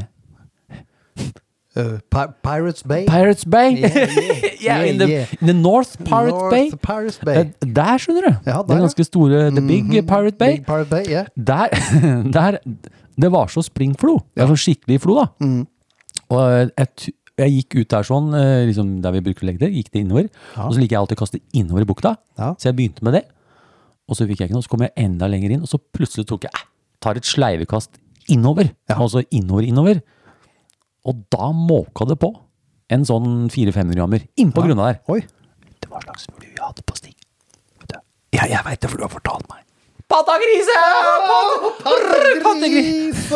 [SPEAKER 6] eh, Pi- Pirates Bay.
[SPEAKER 2] Pirates Bay!
[SPEAKER 6] Yeah, yeah,
[SPEAKER 2] Yeah, in, the,
[SPEAKER 6] yeah.
[SPEAKER 2] in the North Pirate
[SPEAKER 6] North
[SPEAKER 2] Bay.
[SPEAKER 6] Pirates Bay.
[SPEAKER 2] Eh, Der, skjønner du.
[SPEAKER 6] Ja, der,
[SPEAKER 2] det
[SPEAKER 6] ja.
[SPEAKER 2] er ganske store The Big Pirate Bay.
[SPEAKER 6] Big Pirate Bay, yeah.
[SPEAKER 2] Der, der Det var så springflo. Det var så skikkelig flo, da. Og eh, jeg, tu- jeg gikk ut der sånn, eh, liksom der vi bruker å legge det, gikk det innover. Og så liker jeg alltid å kaste innover i bukta,
[SPEAKER 6] Ja.
[SPEAKER 2] så jeg begynte med det. Og så fikk jeg ikke noe, så kom jeg enda lenger inn, og så plutselig tok jeg eh, tar et sleivekast innover. Og så innover, innover. Og da måka det på en sånn 400-500 grammer innpå grunna der.
[SPEAKER 6] Oi.
[SPEAKER 2] Det var slags flue jeg hadde på stig. Vet du? Ja, jeg veit det, for du har fortalt meg. Pattegrise! Pattegris!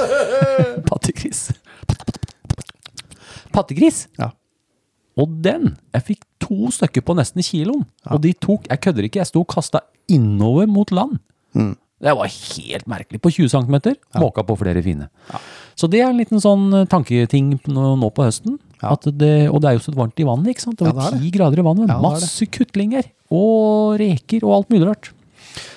[SPEAKER 2] Pattegris. Pattegris.
[SPEAKER 6] Ja.
[SPEAKER 2] Og den! Jeg fikk to stykker på nesten kiloen. Og de tok, jeg kødder ikke, jeg sto og kasta innover mot land.
[SPEAKER 6] Mm.
[SPEAKER 2] Det var helt merkelig. På 20 cm måka på flere fine. Så det er en liten sånn eh, tanketing nå nå på høsten. At det, og det er jo så varmt i vannet, ikke sant? Det
[SPEAKER 6] Ja,
[SPEAKER 2] var
[SPEAKER 6] det er
[SPEAKER 2] ti grader i vannet.
[SPEAKER 6] Ja, det er det.
[SPEAKER 2] masse kutlinger og reker og alt mulig rart.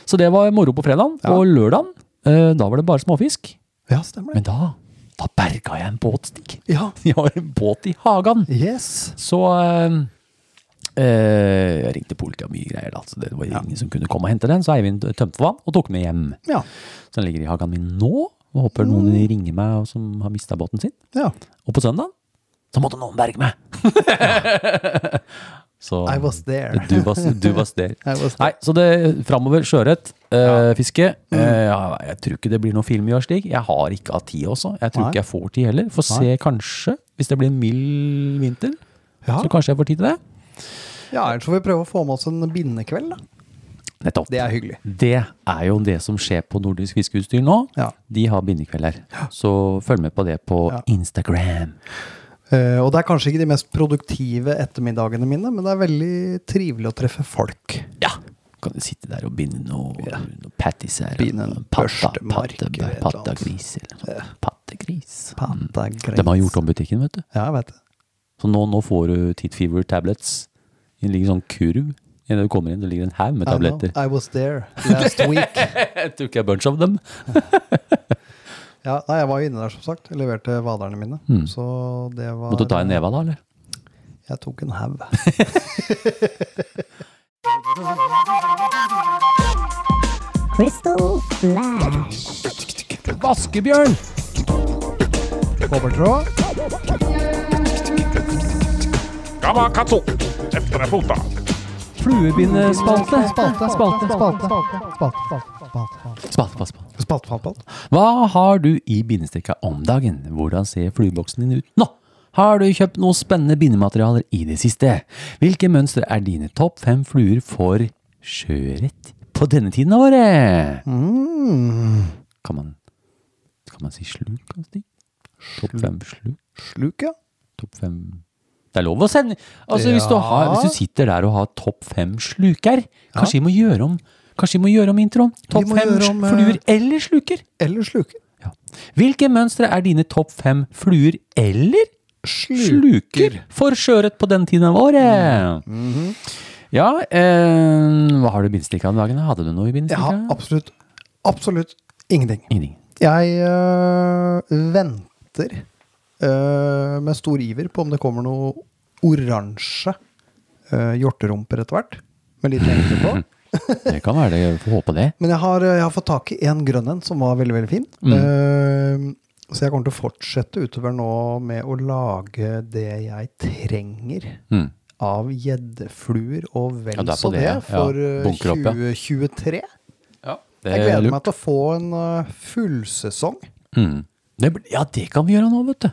[SPEAKER 2] Så det var moro på fredagen.
[SPEAKER 6] Ja.
[SPEAKER 2] Og lørdagen, eh, da var det bare småfisk.
[SPEAKER 6] Ja, stemmer
[SPEAKER 2] Men
[SPEAKER 6] det.
[SPEAKER 2] da, da berga jeg en båt, Stig.
[SPEAKER 6] Ja.
[SPEAKER 2] Jeg har en båt i hagen.
[SPEAKER 6] Yes.
[SPEAKER 2] Så eh, eh, jeg ringte politiet og mye greier. Da. Så det var ingen som kunne komme og hente den. Så Eivind tømte for vann og tok med hjem.
[SPEAKER 6] Ja.
[SPEAKER 2] Så den ligger i hagen min nå. Og håper noen ringer meg og som har mista båten sin.
[SPEAKER 6] ja.
[SPEAKER 2] Og på søndag så måtte noen berge meg. så
[SPEAKER 6] I was there.
[SPEAKER 2] Du was, du was there.
[SPEAKER 6] I was
[SPEAKER 2] Nei, så det framover sjøørret, eh, fiske.
[SPEAKER 6] Mm.
[SPEAKER 2] Eh, ja, jeg tror ikke det blir noen film i år, Stig. Jeg har ikke hatt tid også. Jeg tror
[SPEAKER 6] Nei.
[SPEAKER 2] ikke jeg får tid heller. Får se kanskje, hvis det blir en mild vinter,
[SPEAKER 6] Ja.
[SPEAKER 2] så kanskje jeg får tid til det.
[SPEAKER 6] ja, ellers får vi prøve å få med oss en bindekveld, da.
[SPEAKER 2] Nettopp.
[SPEAKER 6] Det er hyggelig.
[SPEAKER 2] Det er jo det som skjer på Nordisk fiskeutstyr nå.
[SPEAKER 6] Ja.
[SPEAKER 2] De har bindekvelder. Så følg med på det på
[SPEAKER 6] Ja.
[SPEAKER 2] Instagram.
[SPEAKER 6] Eh, og det er kanskje ikke de mest produktive ettermiddagene mine, men det er veldig trivelig å treffe folk.
[SPEAKER 2] Ja. Kan du sitte der og binde noe,
[SPEAKER 6] Ja.
[SPEAKER 2] noe patties her?
[SPEAKER 6] Binde en
[SPEAKER 2] og patta,
[SPEAKER 6] børstemark,
[SPEAKER 2] patte,
[SPEAKER 6] eller et eller annet.
[SPEAKER 2] pattegris eller noe sånt. Pattegris. Mm.
[SPEAKER 6] Pata greit.
[SPEAKER 2] De har gjort om butikken, vet du.
[SPEAKER 6] Ja, jeg vet det.
[SPEAKER 2] Så nå, nå får du Teat Fever tablets. Det ligger en sånn kurv når du kommer inn. Det ligger en haug med
[SPEAKER 6] I know.
[SPEAKER 2] tabletter.
[SPEAKER 6] I was there last week.
[SPEAKER 2] Jeg tok jeg bunch of dem.
[SPEAKER 6] Ja, nei, jeg var jo inne der, som sagt. Jeg leverte vaderne mine. Så det var
[SPEAKER 2] Hmm. Måtte du ta en neve av da, eller?
[SPEAKER 6] Jeg tok en haug.
[SPEAKER 7] Crystal Flash.
[SPEAKER 2] Vaskebjørn!
[SPEAKER 6] Kobbertråd.
[SPEAKER 4] Gamma katso! Efter deg fota.
[SPEAKER 2] Fluebindespalte.
[SPEAKER 6] Spalte, spalte, spalte. Spalte, spalte,
[SPEAKER 2] Spalte, spalte, spalte.
[SPEAKER 6] spalte, spalte.
[SPEAKER 2] Hva har du i bindestikka om dagen? Hvordan ser flueboksen din ut nå? Har du kjøpt noen spennende bindematerialer i det siste? Hvilke mønstre er dine topp fem fluer for sjøørret på denne tiden av året?
[SPEAKER 6] Hmm.
[SPEAKER 2] Kan, man, kan man si sluk, kan Stig? Topp fem sluk?
[SPEAKER 6] Sluk, ja.
[SPEAKER 2] Topp fem Det er lov å sende Altså, hvis, du
[SPEAKER 6] Ja.
[SPEAKER 2] har, hvis du sitter der og har topp fem sluker, kanskje vi må gjøre om Kanskje vi må gjøre om introen? Topp
[SPEAKER 6] må
[SPEAKER 2] fem
[SPEAKER 6] gjøre om, eh,
[SPEAKER 2] fluer eller sluker?
[SPEAKER 6] Eller sluker.
[SPEAKER 2] Ja. Hvilke mønstre er dine topp fem fluer eller sluker for sjøørret på den tiden av året?
[SPEAKER 6] Mm-hmm.
[SPEAKER 2] Ja, eh, hva har du i bindestikka om dagen? Hadde du noe i
[SPEAKER 6] Jeg har
[SPEAKER 2] bindestikka?
[SPEAKER 6] absolutt, absolutt ingenting.
[SPEAKER 2] Ingenting.
[SPEAKER 6] Jeg øh, venter øh, med stor iver på om det kommer noe oransje øh, hjorterumper etter hvert. Med litt lengde på.
[SPEAKER 2] Det kan være det. Får håpe det.
[SPEAKER 6] Men jeg har, øh, jeg har fått tak i en grønn en som var veldig, veldig fin.
[SPEAKER 2] Mm.
[SPEAKER 6] Eh, så jeg kommer til å fortsette utover nå med å lage det jeg trenger.
[SPEAKER 2] Mm.
[SPEAKER 6] Av gjeddefluer og vel
[SPEAKER 2] Ja, du er på
[SPEAKER 6] så
[SPEAKER 2] det,
[SPEAKER 6] det,
[SPEAKER 2] ja.
[SPEAKER 6] for
[SPEAKER 2] Ja,
[SPEAKER 6] øh,
[SPEAKER 2] bunker opp, ja.
[SPEAKER 6] 2023.
[SPEAKER 2] Det
[SPEAKER 6] Jeg
[SPEAKER 2] er
[SPEAKER 6] gleder
[SPEAKER 2] lurt.
[SPEAKER 6] meg til å få en øh, fullsesong
[SPEAKER 2] Mm. Det, blir- ja, det kan vi gjøre nå, vet du.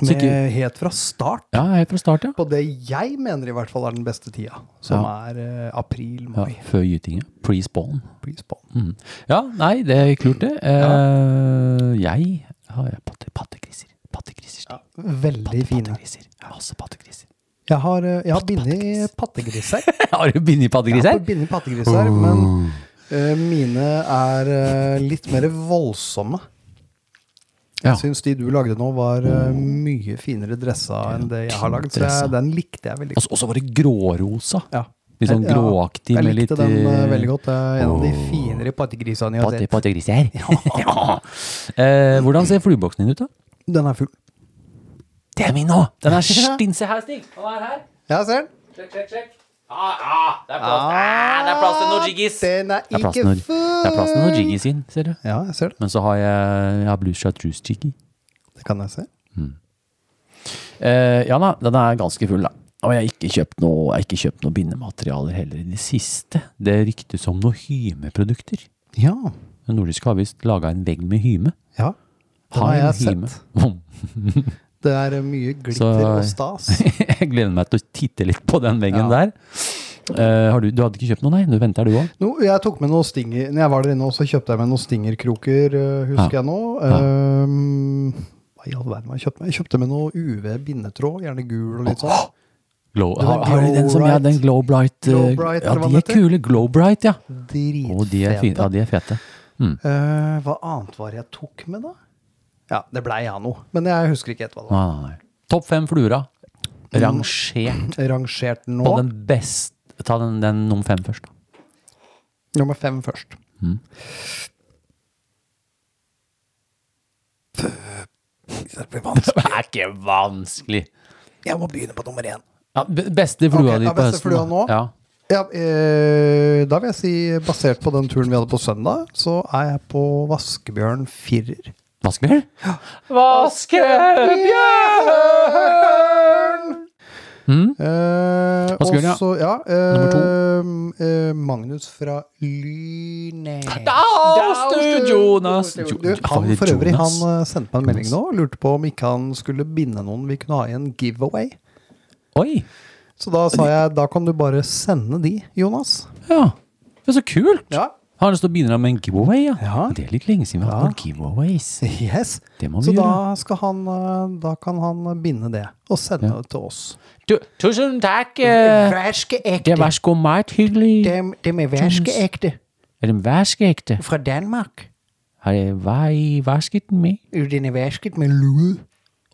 [SPEAKER 2] Så
[SPEAKER 6] med,
[SPEAKER 2] ikke-
[SPEAKER 6] helt fra start.
[SPEAKER 2] Ja, helt fra start, ja.
[SPEAKER 6] på det jeg mener i hvert fall er den beste tida, som er
[SPEAKER 2] ja
[SPEAKER 6] eh, april-mai.
[SPEAKER 2] før gytinga. Pre-spawn.
[SPEAKER 6] Please, Paul.
[SPEAKER 2] Mm. Ja, nei, det er klart det. Eh, Jeg har ja, patte, pattegriser. Pattegriser. Stig.
[SPEAKER 6] Veldig
[SPEAKER 2] Patte-
[SPEAKER 6] fine.
[SPEAKER 2] Pattegriser. Masse pattegriser.
[SPEAKER 6] Jeg har, eh, jeg har bindet pattegris her.
[SPEAKER 2] Har du bindet
[SPEAKER 6] Jeg
[SPEAKER 2] pattegris her?
[SPEAKER 6] har bindet pattegris her,
[SPEAKER 2] Oh.
[SPEAKER 6] men eh, mine er eh, litt mer voldsomme.
[SPEAKER 2] Ja.
[SPEAKER 6] Jeg syns de du lagde nå, var eh, mye finere dressa enn det jeg har lagd. Så jeg, den likte jeg veldig godt.
[SPEAKER 2] Altså, og så var det grårosa.
[SPEAKER 6] Ja.
[SPEAKER 2] Litt sånn
[SPEAKER 6] Ja,
[SPEAKER 2] gråaktig
[SPEAKER 6] Jeg
[SPEAKER 2] med litt
[SPEAKER 6] likte den eh,
[SPEAKER 2] eh,
[SPEAKER 6] veldig godt. Det er en av de finere pattegrisene jeg har
[SPEAKER 2] patte-
[SPEAKER 6] sett.
[SPEAKER 2] Pattegris her. ja. eh, hvordan ser flueboksen din ut, da?
[SPEAKER 6] Den er full.
[SPEAKER 2] Det er min òg! Den er stinse her, Stig. Den er her.
[SPEAKER 6] Jeg ser den.
[SPEAKER 2] Sjekk, sjekk, sjekk. Ah, ah, det er plass, ah, det er plass til noen jiggis. Det
[SPEAKER 6] Den er
[SPEAKER 2] er plass
[SPEAKER 6] ikke
[SPEAKER 2] til noen-
[SPEAKER 6] full!
[SPEAKER 2] det er plass til noen jiggis inn, ser du.
[SPEAKER 6] Ja, jeg ser det.
[SPEAKER 2] Men så har jeg, jeg har blue chartreuse jiggy.
[SPEAKER 6] Det kan jeg se.
[SPEAKER 2] Eh, ja da, den er ganske full, da. Og jeg har ikke kjøpt noe, jeg har ikke kjøpt noe bindematerialer heller i det siste. Det ryktes om noen hymeprodukter.
[SPEAKER 6] Ja.
[SPEAKER 2] Den nordiske har visst laga en vegg med hyme.
[SPEAKER 6] ja. Den har
[SPEAKER 2] en
[SPEAKER 6] jeg
[SPEAKER 2] hyme.
[SPEAKER 6] sett. Det er eh, mye glitter
[SPEAKER 2] Så-
[SPEAKER 6] og stas.
[SPEAKER 2] jeg gleder meg til å titte litt på den veggen
[SPEAKER 6] Ja.
[SPEAKER 2] der. Eh, har du, du hadde ikke kjøpt noe, nei? Du venter, du òg?
[SPEAKER 6] No, jeg tok med noen stinger Når jeg var der inne, også, så kjøpte jeg med noen stingerkroker, øh, husker jeg nå. Ehm, hva i all verden var jeg kjøpte med? Jeg kjøpte med noe UV-bindetråd, gjerne gul og litt sånn.
[SPEAKER 2] Glow,
[SPEAKER 6] Det var
[SPEAKER 2] har, har de den som
[SPEAKER 6] Glowrite.
[SPEAKER 2] ja, den Glowbright? eh,
[SPEAKER 6] Glowbrite,
[SPEAKER 2] ja,
[SPEAKER 6] eller
[SPEAKER 2] de
[SPEAKER 6] hva
[SPEAKER 2] er
[SPEAKER 6] den heter?
[SPEAKER 2] kule. Glowbright, ja.
[SPEAKER 6] Dritfete.
[SPEAKER 2] Og de er fine. Ja, de er fete.
[SPEAKER 6] Eh, hva annet var det jeg tok med, da? Ja, det blei jeg noe. Men jeg husker ikke helt hva det var.
[SPEAKER 2] Nei, nei, nei. Topp fem flura.
[SPEAKER 6] Mm.
[SPEAKER 2] Rangert
[SPEAKER 6] Rangert nå.
[SPEAKER 2] på den best Ta den, den nummer fem først. da.
[SPEAKER 6] Nummer fem først.
[SPEAKER 2] Mm.
[SPEAKER 6] Det blir vanskelig.
[SPEAKER 2] Det er ikke vanskelig!
[SPEAKER 6] Jeg må begynne på nummer én.
[SPEAKER 2] Ja, be- beste flua
[SPEAKER 6] Ok,
[SPEAKER 2] di
[SPEAKER 6] ja,
[SPEAKER 2] på
[SPEAKER 6] beste
[SPEAKER 2] høsten.
[SPEAKER 6] flua
[SPEAKER 2] da.
[SPEAKER 6] nå.
[SPEAKER 2] Ja.
[SPEAKER 6] Ja, eh, da vil jeg si, basert på den turen vi hadde på søndag, så er jeg på Vaskebjørn firer.
[SPEAKER 2] Vaskebjørn?
[SPEAKER 6] Eh,
[SPEAKER 2] Hmm? Vaskebjørn, ja.
[SPEAKER 6] også, ja. eh,
[SPEAKER 2] Nummer
[SPEAKER 6] eh, Magnus fra Lyne.
[SPEAKER 2] Daus, du Jonas! Jo-
[SPEAKER 6] Du, han,
[SPEAKER 2] Fader,
[SPEAKER 6] for øvrig, han
[SPEAKER 2] Jonas.
[SPEAKER 6] eh, sendte meg en melding nå og lurte på om ikke han skulle binde noen vi kunne ha i en giveaway. eh,
[SPEAKER 2] Oi!
[SPEAKER 6] Så da sa jeg da kan du bare sende de, Jonas.
[SPEAKER 2] Ja. Det er så kult!
[SPEAKER 6] Ja.
[SPEAKER 2] Har han lyst til å begynne med en giveaway? Ja.
[SPEAKER 6] Ja.
[SPEAKER 2] Det er litt lenge siden vi har hatt
[SPEAKER 6] Ja.
[SPEAKER 2] noen giveaways.
[SPEAKER 6] Yes.
[SPEAKER 2] Det må vi
[SPEAKER 6] Så
[SPEAKER 2] gjøre.
[SPEAKER 6] da, skal han, eh, da kan han binde det og sende det til oss.
[SPEAKER 2] Du, tusen takk! eh,
[SPEAKER 6] Værske
[SPEAKER 2] Det var så meget hyggelig.
[SPEAKER 6] Dem, dem er værske ægte
[SPEAKER 2] Er den vaskeekte?
[SPEAKER 6] fra Danmark.
[SPEAKER 2] Har jeg hva i vasket den med?
[SPEAKER 6] Den er vasket med lude.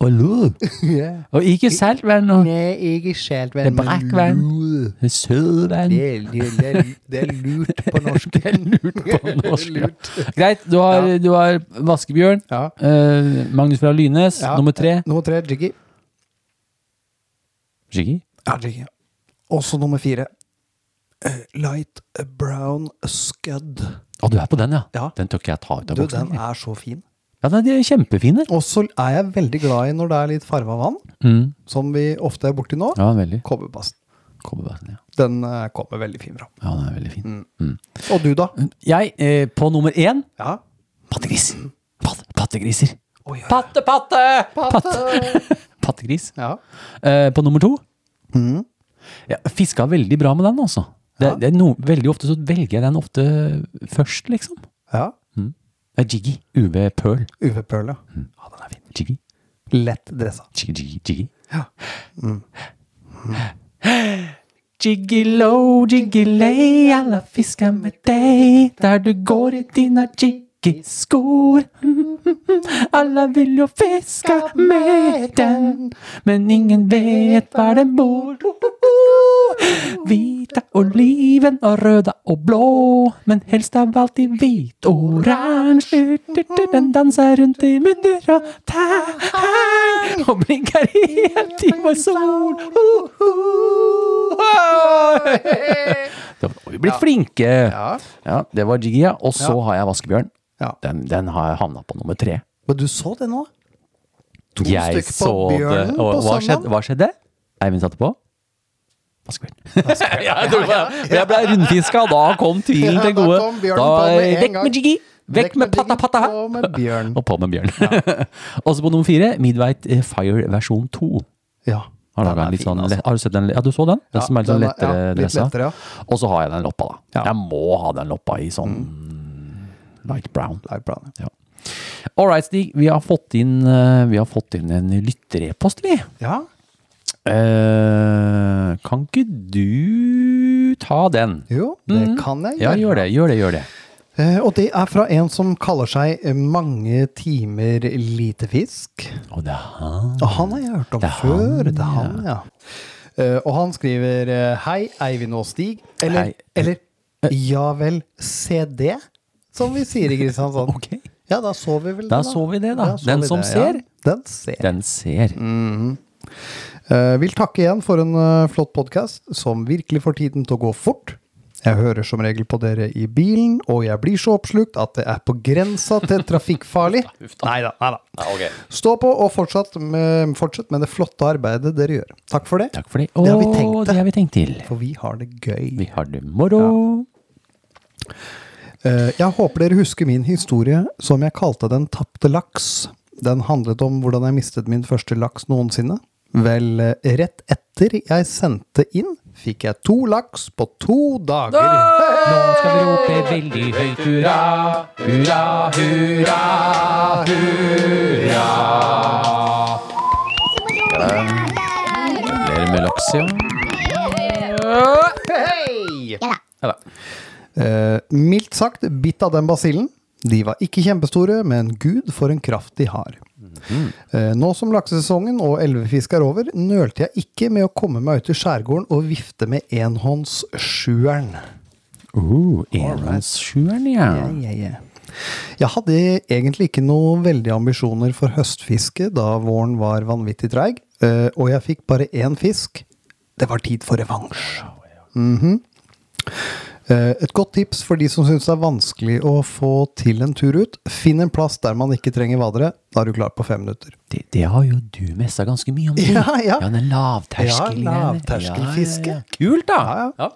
[SPEAKER 2] Og lud.
[SPEAKER 6] Ja.
[SPEAKER 2] Og ikke saltvann og
[SPEAKER 6] Nei, ikke saltvand,
[SPEAKER 2] Det er brakvand.
[SPEAKER 6] lude.
[SPEAKER 2] sødvann.
[SPEAKER 6] Det er, det, er- det, er- det er lurt på norsk.
[SPEAKER 2] Det er lurt på norsk. ja. Greit, du har, du har Vaskebjørn.
[SPEAKER 6] Ja.
[SPEAKER 2] eh, Magnus fra Lynes.
[SPEAKER 6] Ja.
[SPEAKER 2] Nummer tre.
[SPEAKER 6] Nummer tre, Jiggy.
[SPEAKER 2] Jiggy.
[SPEAKER 6] Ja, Jiggy. Også nummer fire. Eh, Light brown scud.
[SPEAKER 2] Å, du er på den, ja.
[SPEAKER 6] Ja.
[SPEAKER 2] Den tør ikke jeg ta ut av
[SPEAKER 6] Du, den
[SPEAKER 2] boksen.
[SPEAKER 6] er så fin.
[SPEAKER 2] Ja, nei, de er kjempefine.
[SPEAKER 6] Og så er jeg veldig glad i når det er litt farva vann,
[SPEAKER 2] Mm.
[SPEAKER 6] som vi ofte er borti nå.
[SPEAKER 2] Ja, veldig.
[SPEAKER 6] Kobberbassen.
[SPEAKER 2] Kobberbassen, ja.
[SPEAKER 6] Den eh, kommer veldig fin fram.
[SPEAKER 2] ja, den er veldig fin.
[SPEAKER 6] Mm. Og du, da?
[SPEAKER 2] Jeg, eh, på nummer én
[SPEAKER 6] Ja.
[SPEAKER 2] Pattegris.
[SPEAKER 6] Mm.
[SPEAKER 2] Pat, pattegriser.
[SPEAKER 6] Oi, oi, oi.
[SPEAKER 2] Patte, patte! Patte. Pattegris.
[SPEAKER 6] Ja. Mm.
[SPEAKER 2] Eh, på nummer to Jeg fiska veldig bra med den, altså. Det, det er no, veldig ofte så velger jeg den ofte først, liksom.
[SPEAKER 6] ja.
[SPEAKER 2] Det er Jiggy. UV Pearl.
[SPEAKER 6] UV-pøl, ja.
[SPEAKER 2] Ja, den er fin. Jiggy.
[SPEAKER 6] Lett dressa.
[SPEAKER 2] Jiggy, jiggy, jiggy. Mm. Jiggy low, jiggy lay, alle fisker med deg. Der du går i dine jiggy-skor. Alle vil jo fiske med den, men ingen vet hvor den bor. Hvite oliven og røde og blå, men helst av alt i hvit-oransje. Den danser rundt i munner og tær og blinker helt i vår sol. Da har vi blitt flinke. Ja. det var Jiggy, ja. Og så har jeg Vaskebjørn.
[SPEAKER 6] Ja.
[SPEAKER 2] Den, den har jeg havna på nummer tre.
[SPEAKER 6] Men du så det nå? To
[SPEAKER 2] Jeg
[SPEAKER 6] stykk
[SPEAKER 2] så
[SPEAKER 6] på
[SPEAKER 2] det.
[SPEAKER 6] bjørnen
[SPEAKER 2] Og
[SPEAKER 6] på
[SPEAKER 2] hva
[SPEAKER 6] søndagen.
[SPEAKER 2] skjedde? Hva skjedde? Eivind satte på. Vaskebjørn. ja, jeg tror det. Men jeg ble rundfiska, og da kom tvilen
[SPEAKER 6] Ja,
[SPEAKER 2] til
[SPEAKER 6] da
[SPEAKER 2] gode.
[SPEAKER 6] kom bjørnen
[SPEAKER 2] Da,
[SPEAKER 6] på med en
[SPEAKER 2] vekk
[SPEAKER 6] gang.
[SPEAKER 2] med Jiggy! Vekk med
[SPEAKER 6] Jiggy,
[SPEAKER 2] patta-patta!
[SPEAKER 6] Og med bjørn.
[SPEAKER 2] Og på med bjørn. Også på nummer fire, Midweight eh, Fire versjon 2.
[SPEAKER 6] Ja.
[SPEAKER 2] Har,
[SPEAKER 6] den
[SPEAKER 2] laget
[SPEAKER 6] er
[SPEAKER 2] en litt
[SPEAKER 6] fin,
[SPEAKER 2] sånn,
[SPEAKER 6] altså.
[SPEAKER 2] har du sett den? Ja, du så den? Den
[SPEAKER 6] Ja,
[SPEAKER 2] som er litt sånn
[SPEAKER 6] den er-
[SPEAKER 2] lettere
[SPEAKER 6] ja, litt
[SPEAKER 2] dressa.
[SPEAKER 6] lettere, ja.
[SPEAKER 2] Og så har jeg den loppa, da.
[SPEAKER 6] Ja. Mm.
[SPEAKER 2] Jeg må ha den loppa i sånn light brown.
[SPEAKER 6] Light brown,
[SPEAKER 2] Ja. All right, Stig. Vi har fått inn, eh, vi har fått inn en lytterepost, vi.
[SPEAKER 6] Ja.
[SPEAKER 2] Eh, kan ikke du ta den?
[SPEAKER 6] Jo, det
[SPEAKER 2] Mhm.
[SPEAKER 6] kan jeg
[SPEAKER 2] Ja, gjør det. Gjør det, gjør det.
[SPEAKER 6] Eh, Og det er fra en som kaller seg Mange timer lite fisk.
[SPEAKER 2] Å, det er han.
[SPEAKER 6] Og han har jeg hørt om
[SPEAKER 2] Det er
[SPEAKER 6] før. Det er han, ja. Eh, og han skriver eh, Hei, Eivind og Stig. Eller,
[SPEAKER 2] Hei. Eh.
[SPEAKER 6] eller Ja vel, se det, som vi sier i Kristiansand.
[SPEAKER 2] Ok.
[SPEAKER 6] Ja, da så vi vel
[SPEAKER 2] Da
[SPEAKER 6] det, da.
[SPEAKER 2] så vi det, da.
[SPEAKER 6] så
[SPEAKER 2] Den
[SPEAKER 6] vi
[SPEAKER 2] som
[SPEAKER 6] det,
[SPEAKER 2] ser.
[SPEAKER 6] Ja. Den ser.
[SPEAKER 2] Den ser.
[SPEAKER 6] Eh, vil takke igjen for en eh, flott podkast som virkelig får tiden til å gå fort. Jeg hører som regel på dere i bilen, og jeg blir så oppslukt at det er på grensa til trafikkfarlig. Nei da, nei da. Stå på og fortsett med, fortsett med det flotte arbeidet dere gjør. Takk for det,
[SPEAKER 2] Takk for det.
[SPEAKER 6] Det har vi
[SPEAKER 2] Å,
[SPEAKER 6] tenkt til.
[SPEAKER 2] det har vi tenkt til.
[SPEAKER 6] for vi har det gøy.
[SPEAKER 2] Vi har det moro.
[SPEAKER 6] Eh, jeg håper dere husker min historie som jeg kalte Den tapte laks. Den handlet om hvordan jeg mistet min første laks noensinne. Vel, eh, rett etter jeg sendte inn, fikk jeg to laks på to dager.
[SPEAKER 2] Nå skal vi rope veldig høyt hurra, hurra, hurra, hurra. Gratulerer med laks, ja.
[SPEAKER 1] Ja da.
[SPEAKER 6] Eh, mildt sagt bitt av den basillen. De var ikke kjempestore, men gud for en kraft de har. Eh, nå som laksesesongen og elvefiske er over, nølte jeg ikke med å komme meg ut i skjærgården og vifte med enhåndssjueren.
[SPEAKER 2] Uh, enhåndssjueren, ja.
[SPEAKER 6] Ja, ja, ja. Jeg hadde egentlig ikke noen veldige ambisjoner for høstfiske da våren var vanvittig treig, eh, og jeg fikk bare én fisk. Det var tid for revansj. Mhm. Eh, Et godt tips for de som syns det er vanskelig å få til en tur ut. Finn en plass der man ikke trenger vadere. Da er du klar på fem minutter.
[SPEAKER 2] Det, det har jo du messa ganske mye om. du.
[SPEAKER 6] Ja, ja.
[SPEAKER 2] Den lavterskelen.
[SPEAKER 6] Ja,
[SPEAKER 2] der.
[SPEAKER 6] lavterskelfiske.
[SPEAKER 2] Kult, da!
[SPEAKER 6] Ja, ja.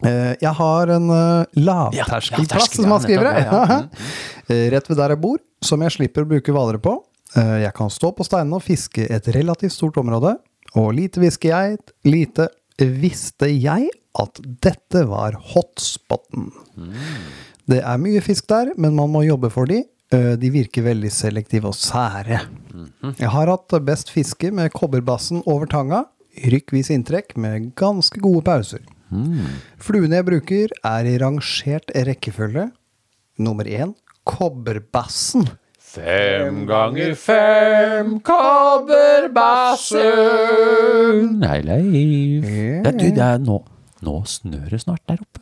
[SPEAKER 2] Ja.
[SPEAKER 6] Eh, Jeg har en eh,
[SPEAKER 2] Ja,
[SPEAKER 6] lavterskelplass,
[SPEAKER 2] lavterskel,
[SPEAKER 6] som han
[SPEAKER 2] ja,
[SPEAKER 6] skriver
[SPEAKER 2] nettopp, ja, ja.
[SPEAKER 6] Eh, Rett ved der jeg bor, som jeg slipper å bruke hvalere på. Eh, Jeg kan stå på steinene og fiske et relativt stort område. Og lite visste jeg, lite visste jeg at dette var hotspoten. Det er mye fisk der, men man må jobbe for de. Eh, De virker veldig selektive og sære.
[SPEAKER 2] Mhm.
[SPEAKER 6] Jeg har hatt best fiske med kobberbassen over tanga. Rykkvis inntrekk med ganske gode pauser.
[SPEAKER 2] Mhm.
[SPEAKER 6] Fluene jeg bruker, er i rangert rekkefølge. Nummer én kobberbassen.
[SPEAKER 2] Nei, Leif. Det, du, det er nå, nå snør det snart der oppe.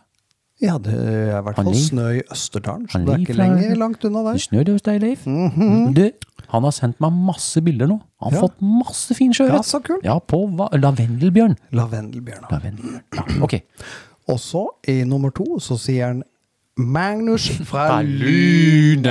[SPEAKER 6] Ja, det er eh, i hvert fall
[SPEAKER 2] Han liv.
[SPEAKER 6] snø i Østerdalen, så
[SPEAKER 2] Han
[SPEAKER 6] det er
[SPEAKER 2] liv
[SPEAKER 6] ikke
[SPEAKER 2] fra-
[SPEAKER 6] lenger langt unna
[SPEAKER 2] Det
[SPEAKER 6] der.
[SPEAKER 2] snør det hos deg, Leif. Du, han har sendt meg masse bilder nå. Han har
[SPEAKER 6] Mhm. Ja.
[SPEAKER 2] fått masse fin sjøørret.
[SPEAKER 6] Ja, så kult.
[SPEAKER 2] Ja, på va lavendelbjørn.
[SPEAKER 6] Lavendelbjørna.
[SPEAKER 2] Lavendelbjørn. Ja, ok.
[SPEAKER 6] Og så, i nummer to, så sier han Magnus fra
[SPEAKER 2] Lynes.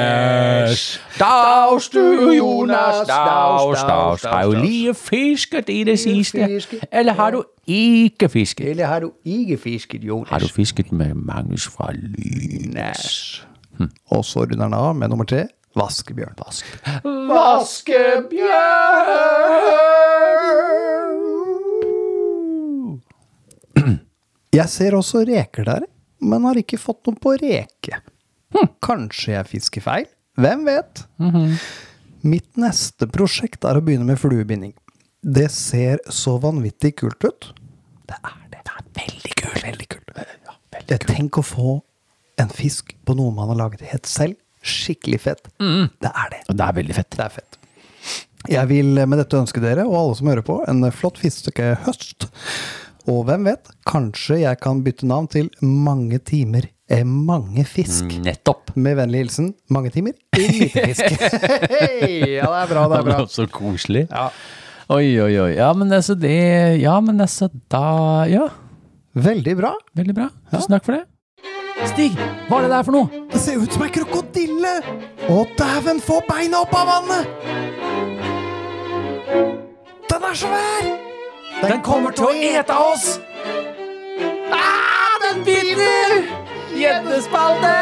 [SPEAKER 2] Daus du, Jonas, daus, daus. Har jo lige fisket i det siste. Eller har du ikke fisket?
[SPEAKER 6] Eller har du ikke fisket, Jonas?
[SPEAKER 2] Har du fisket med Magnus fra Lynes?
[SPEAKER 6] Og så runder han av med nummer tre. Vaskebjørn. Jeg ser også reker der, men har ikke fått noe på reke. Hm. Kanskje jeg fisker feil? Hvem vet? Mitt neste prosjekt er å begynne med fluebinding. Det ser så vanvittig kult ut. Det er det. Det er veldig kult. Veldig kult. Jeg tenker å få en fisk på noe man har laget helt selv. Skikkelig fett. Det er det.
[SPEAKER 2] Det er veldig fett.
[SPEAKER 6] Det er fett. Jeg vil med dette ønske dere og alle som hører på, en flott fiske høst. Og hvem vet, kanskje jeg kan bytte navn til Mange timer er mange fisk.
[SPEAKER 2] Nettopp.
[SPEAKER 6] Med vennlig hilsen Mange timer i lite fisk. Hei, ja, det er bra, det er bra.
[SPEAKER 2] Så koselig. Oi, oi, oi. Ja, men altså det Ja, men altså da Ja,
[SPEAKER 6] Veldig bra.
[SPEAKER 2] veldig bra. Tusen takk for det. Stig, hva er det der for noe?
[SPEAKER 6] Det ser ut som ei krokodille! Å, dæven, få beina opp av vannet! Den er svær! Den, kommer til å ete oss! Ah, den binder!
[SPEAKER 2] Gjeddespalte!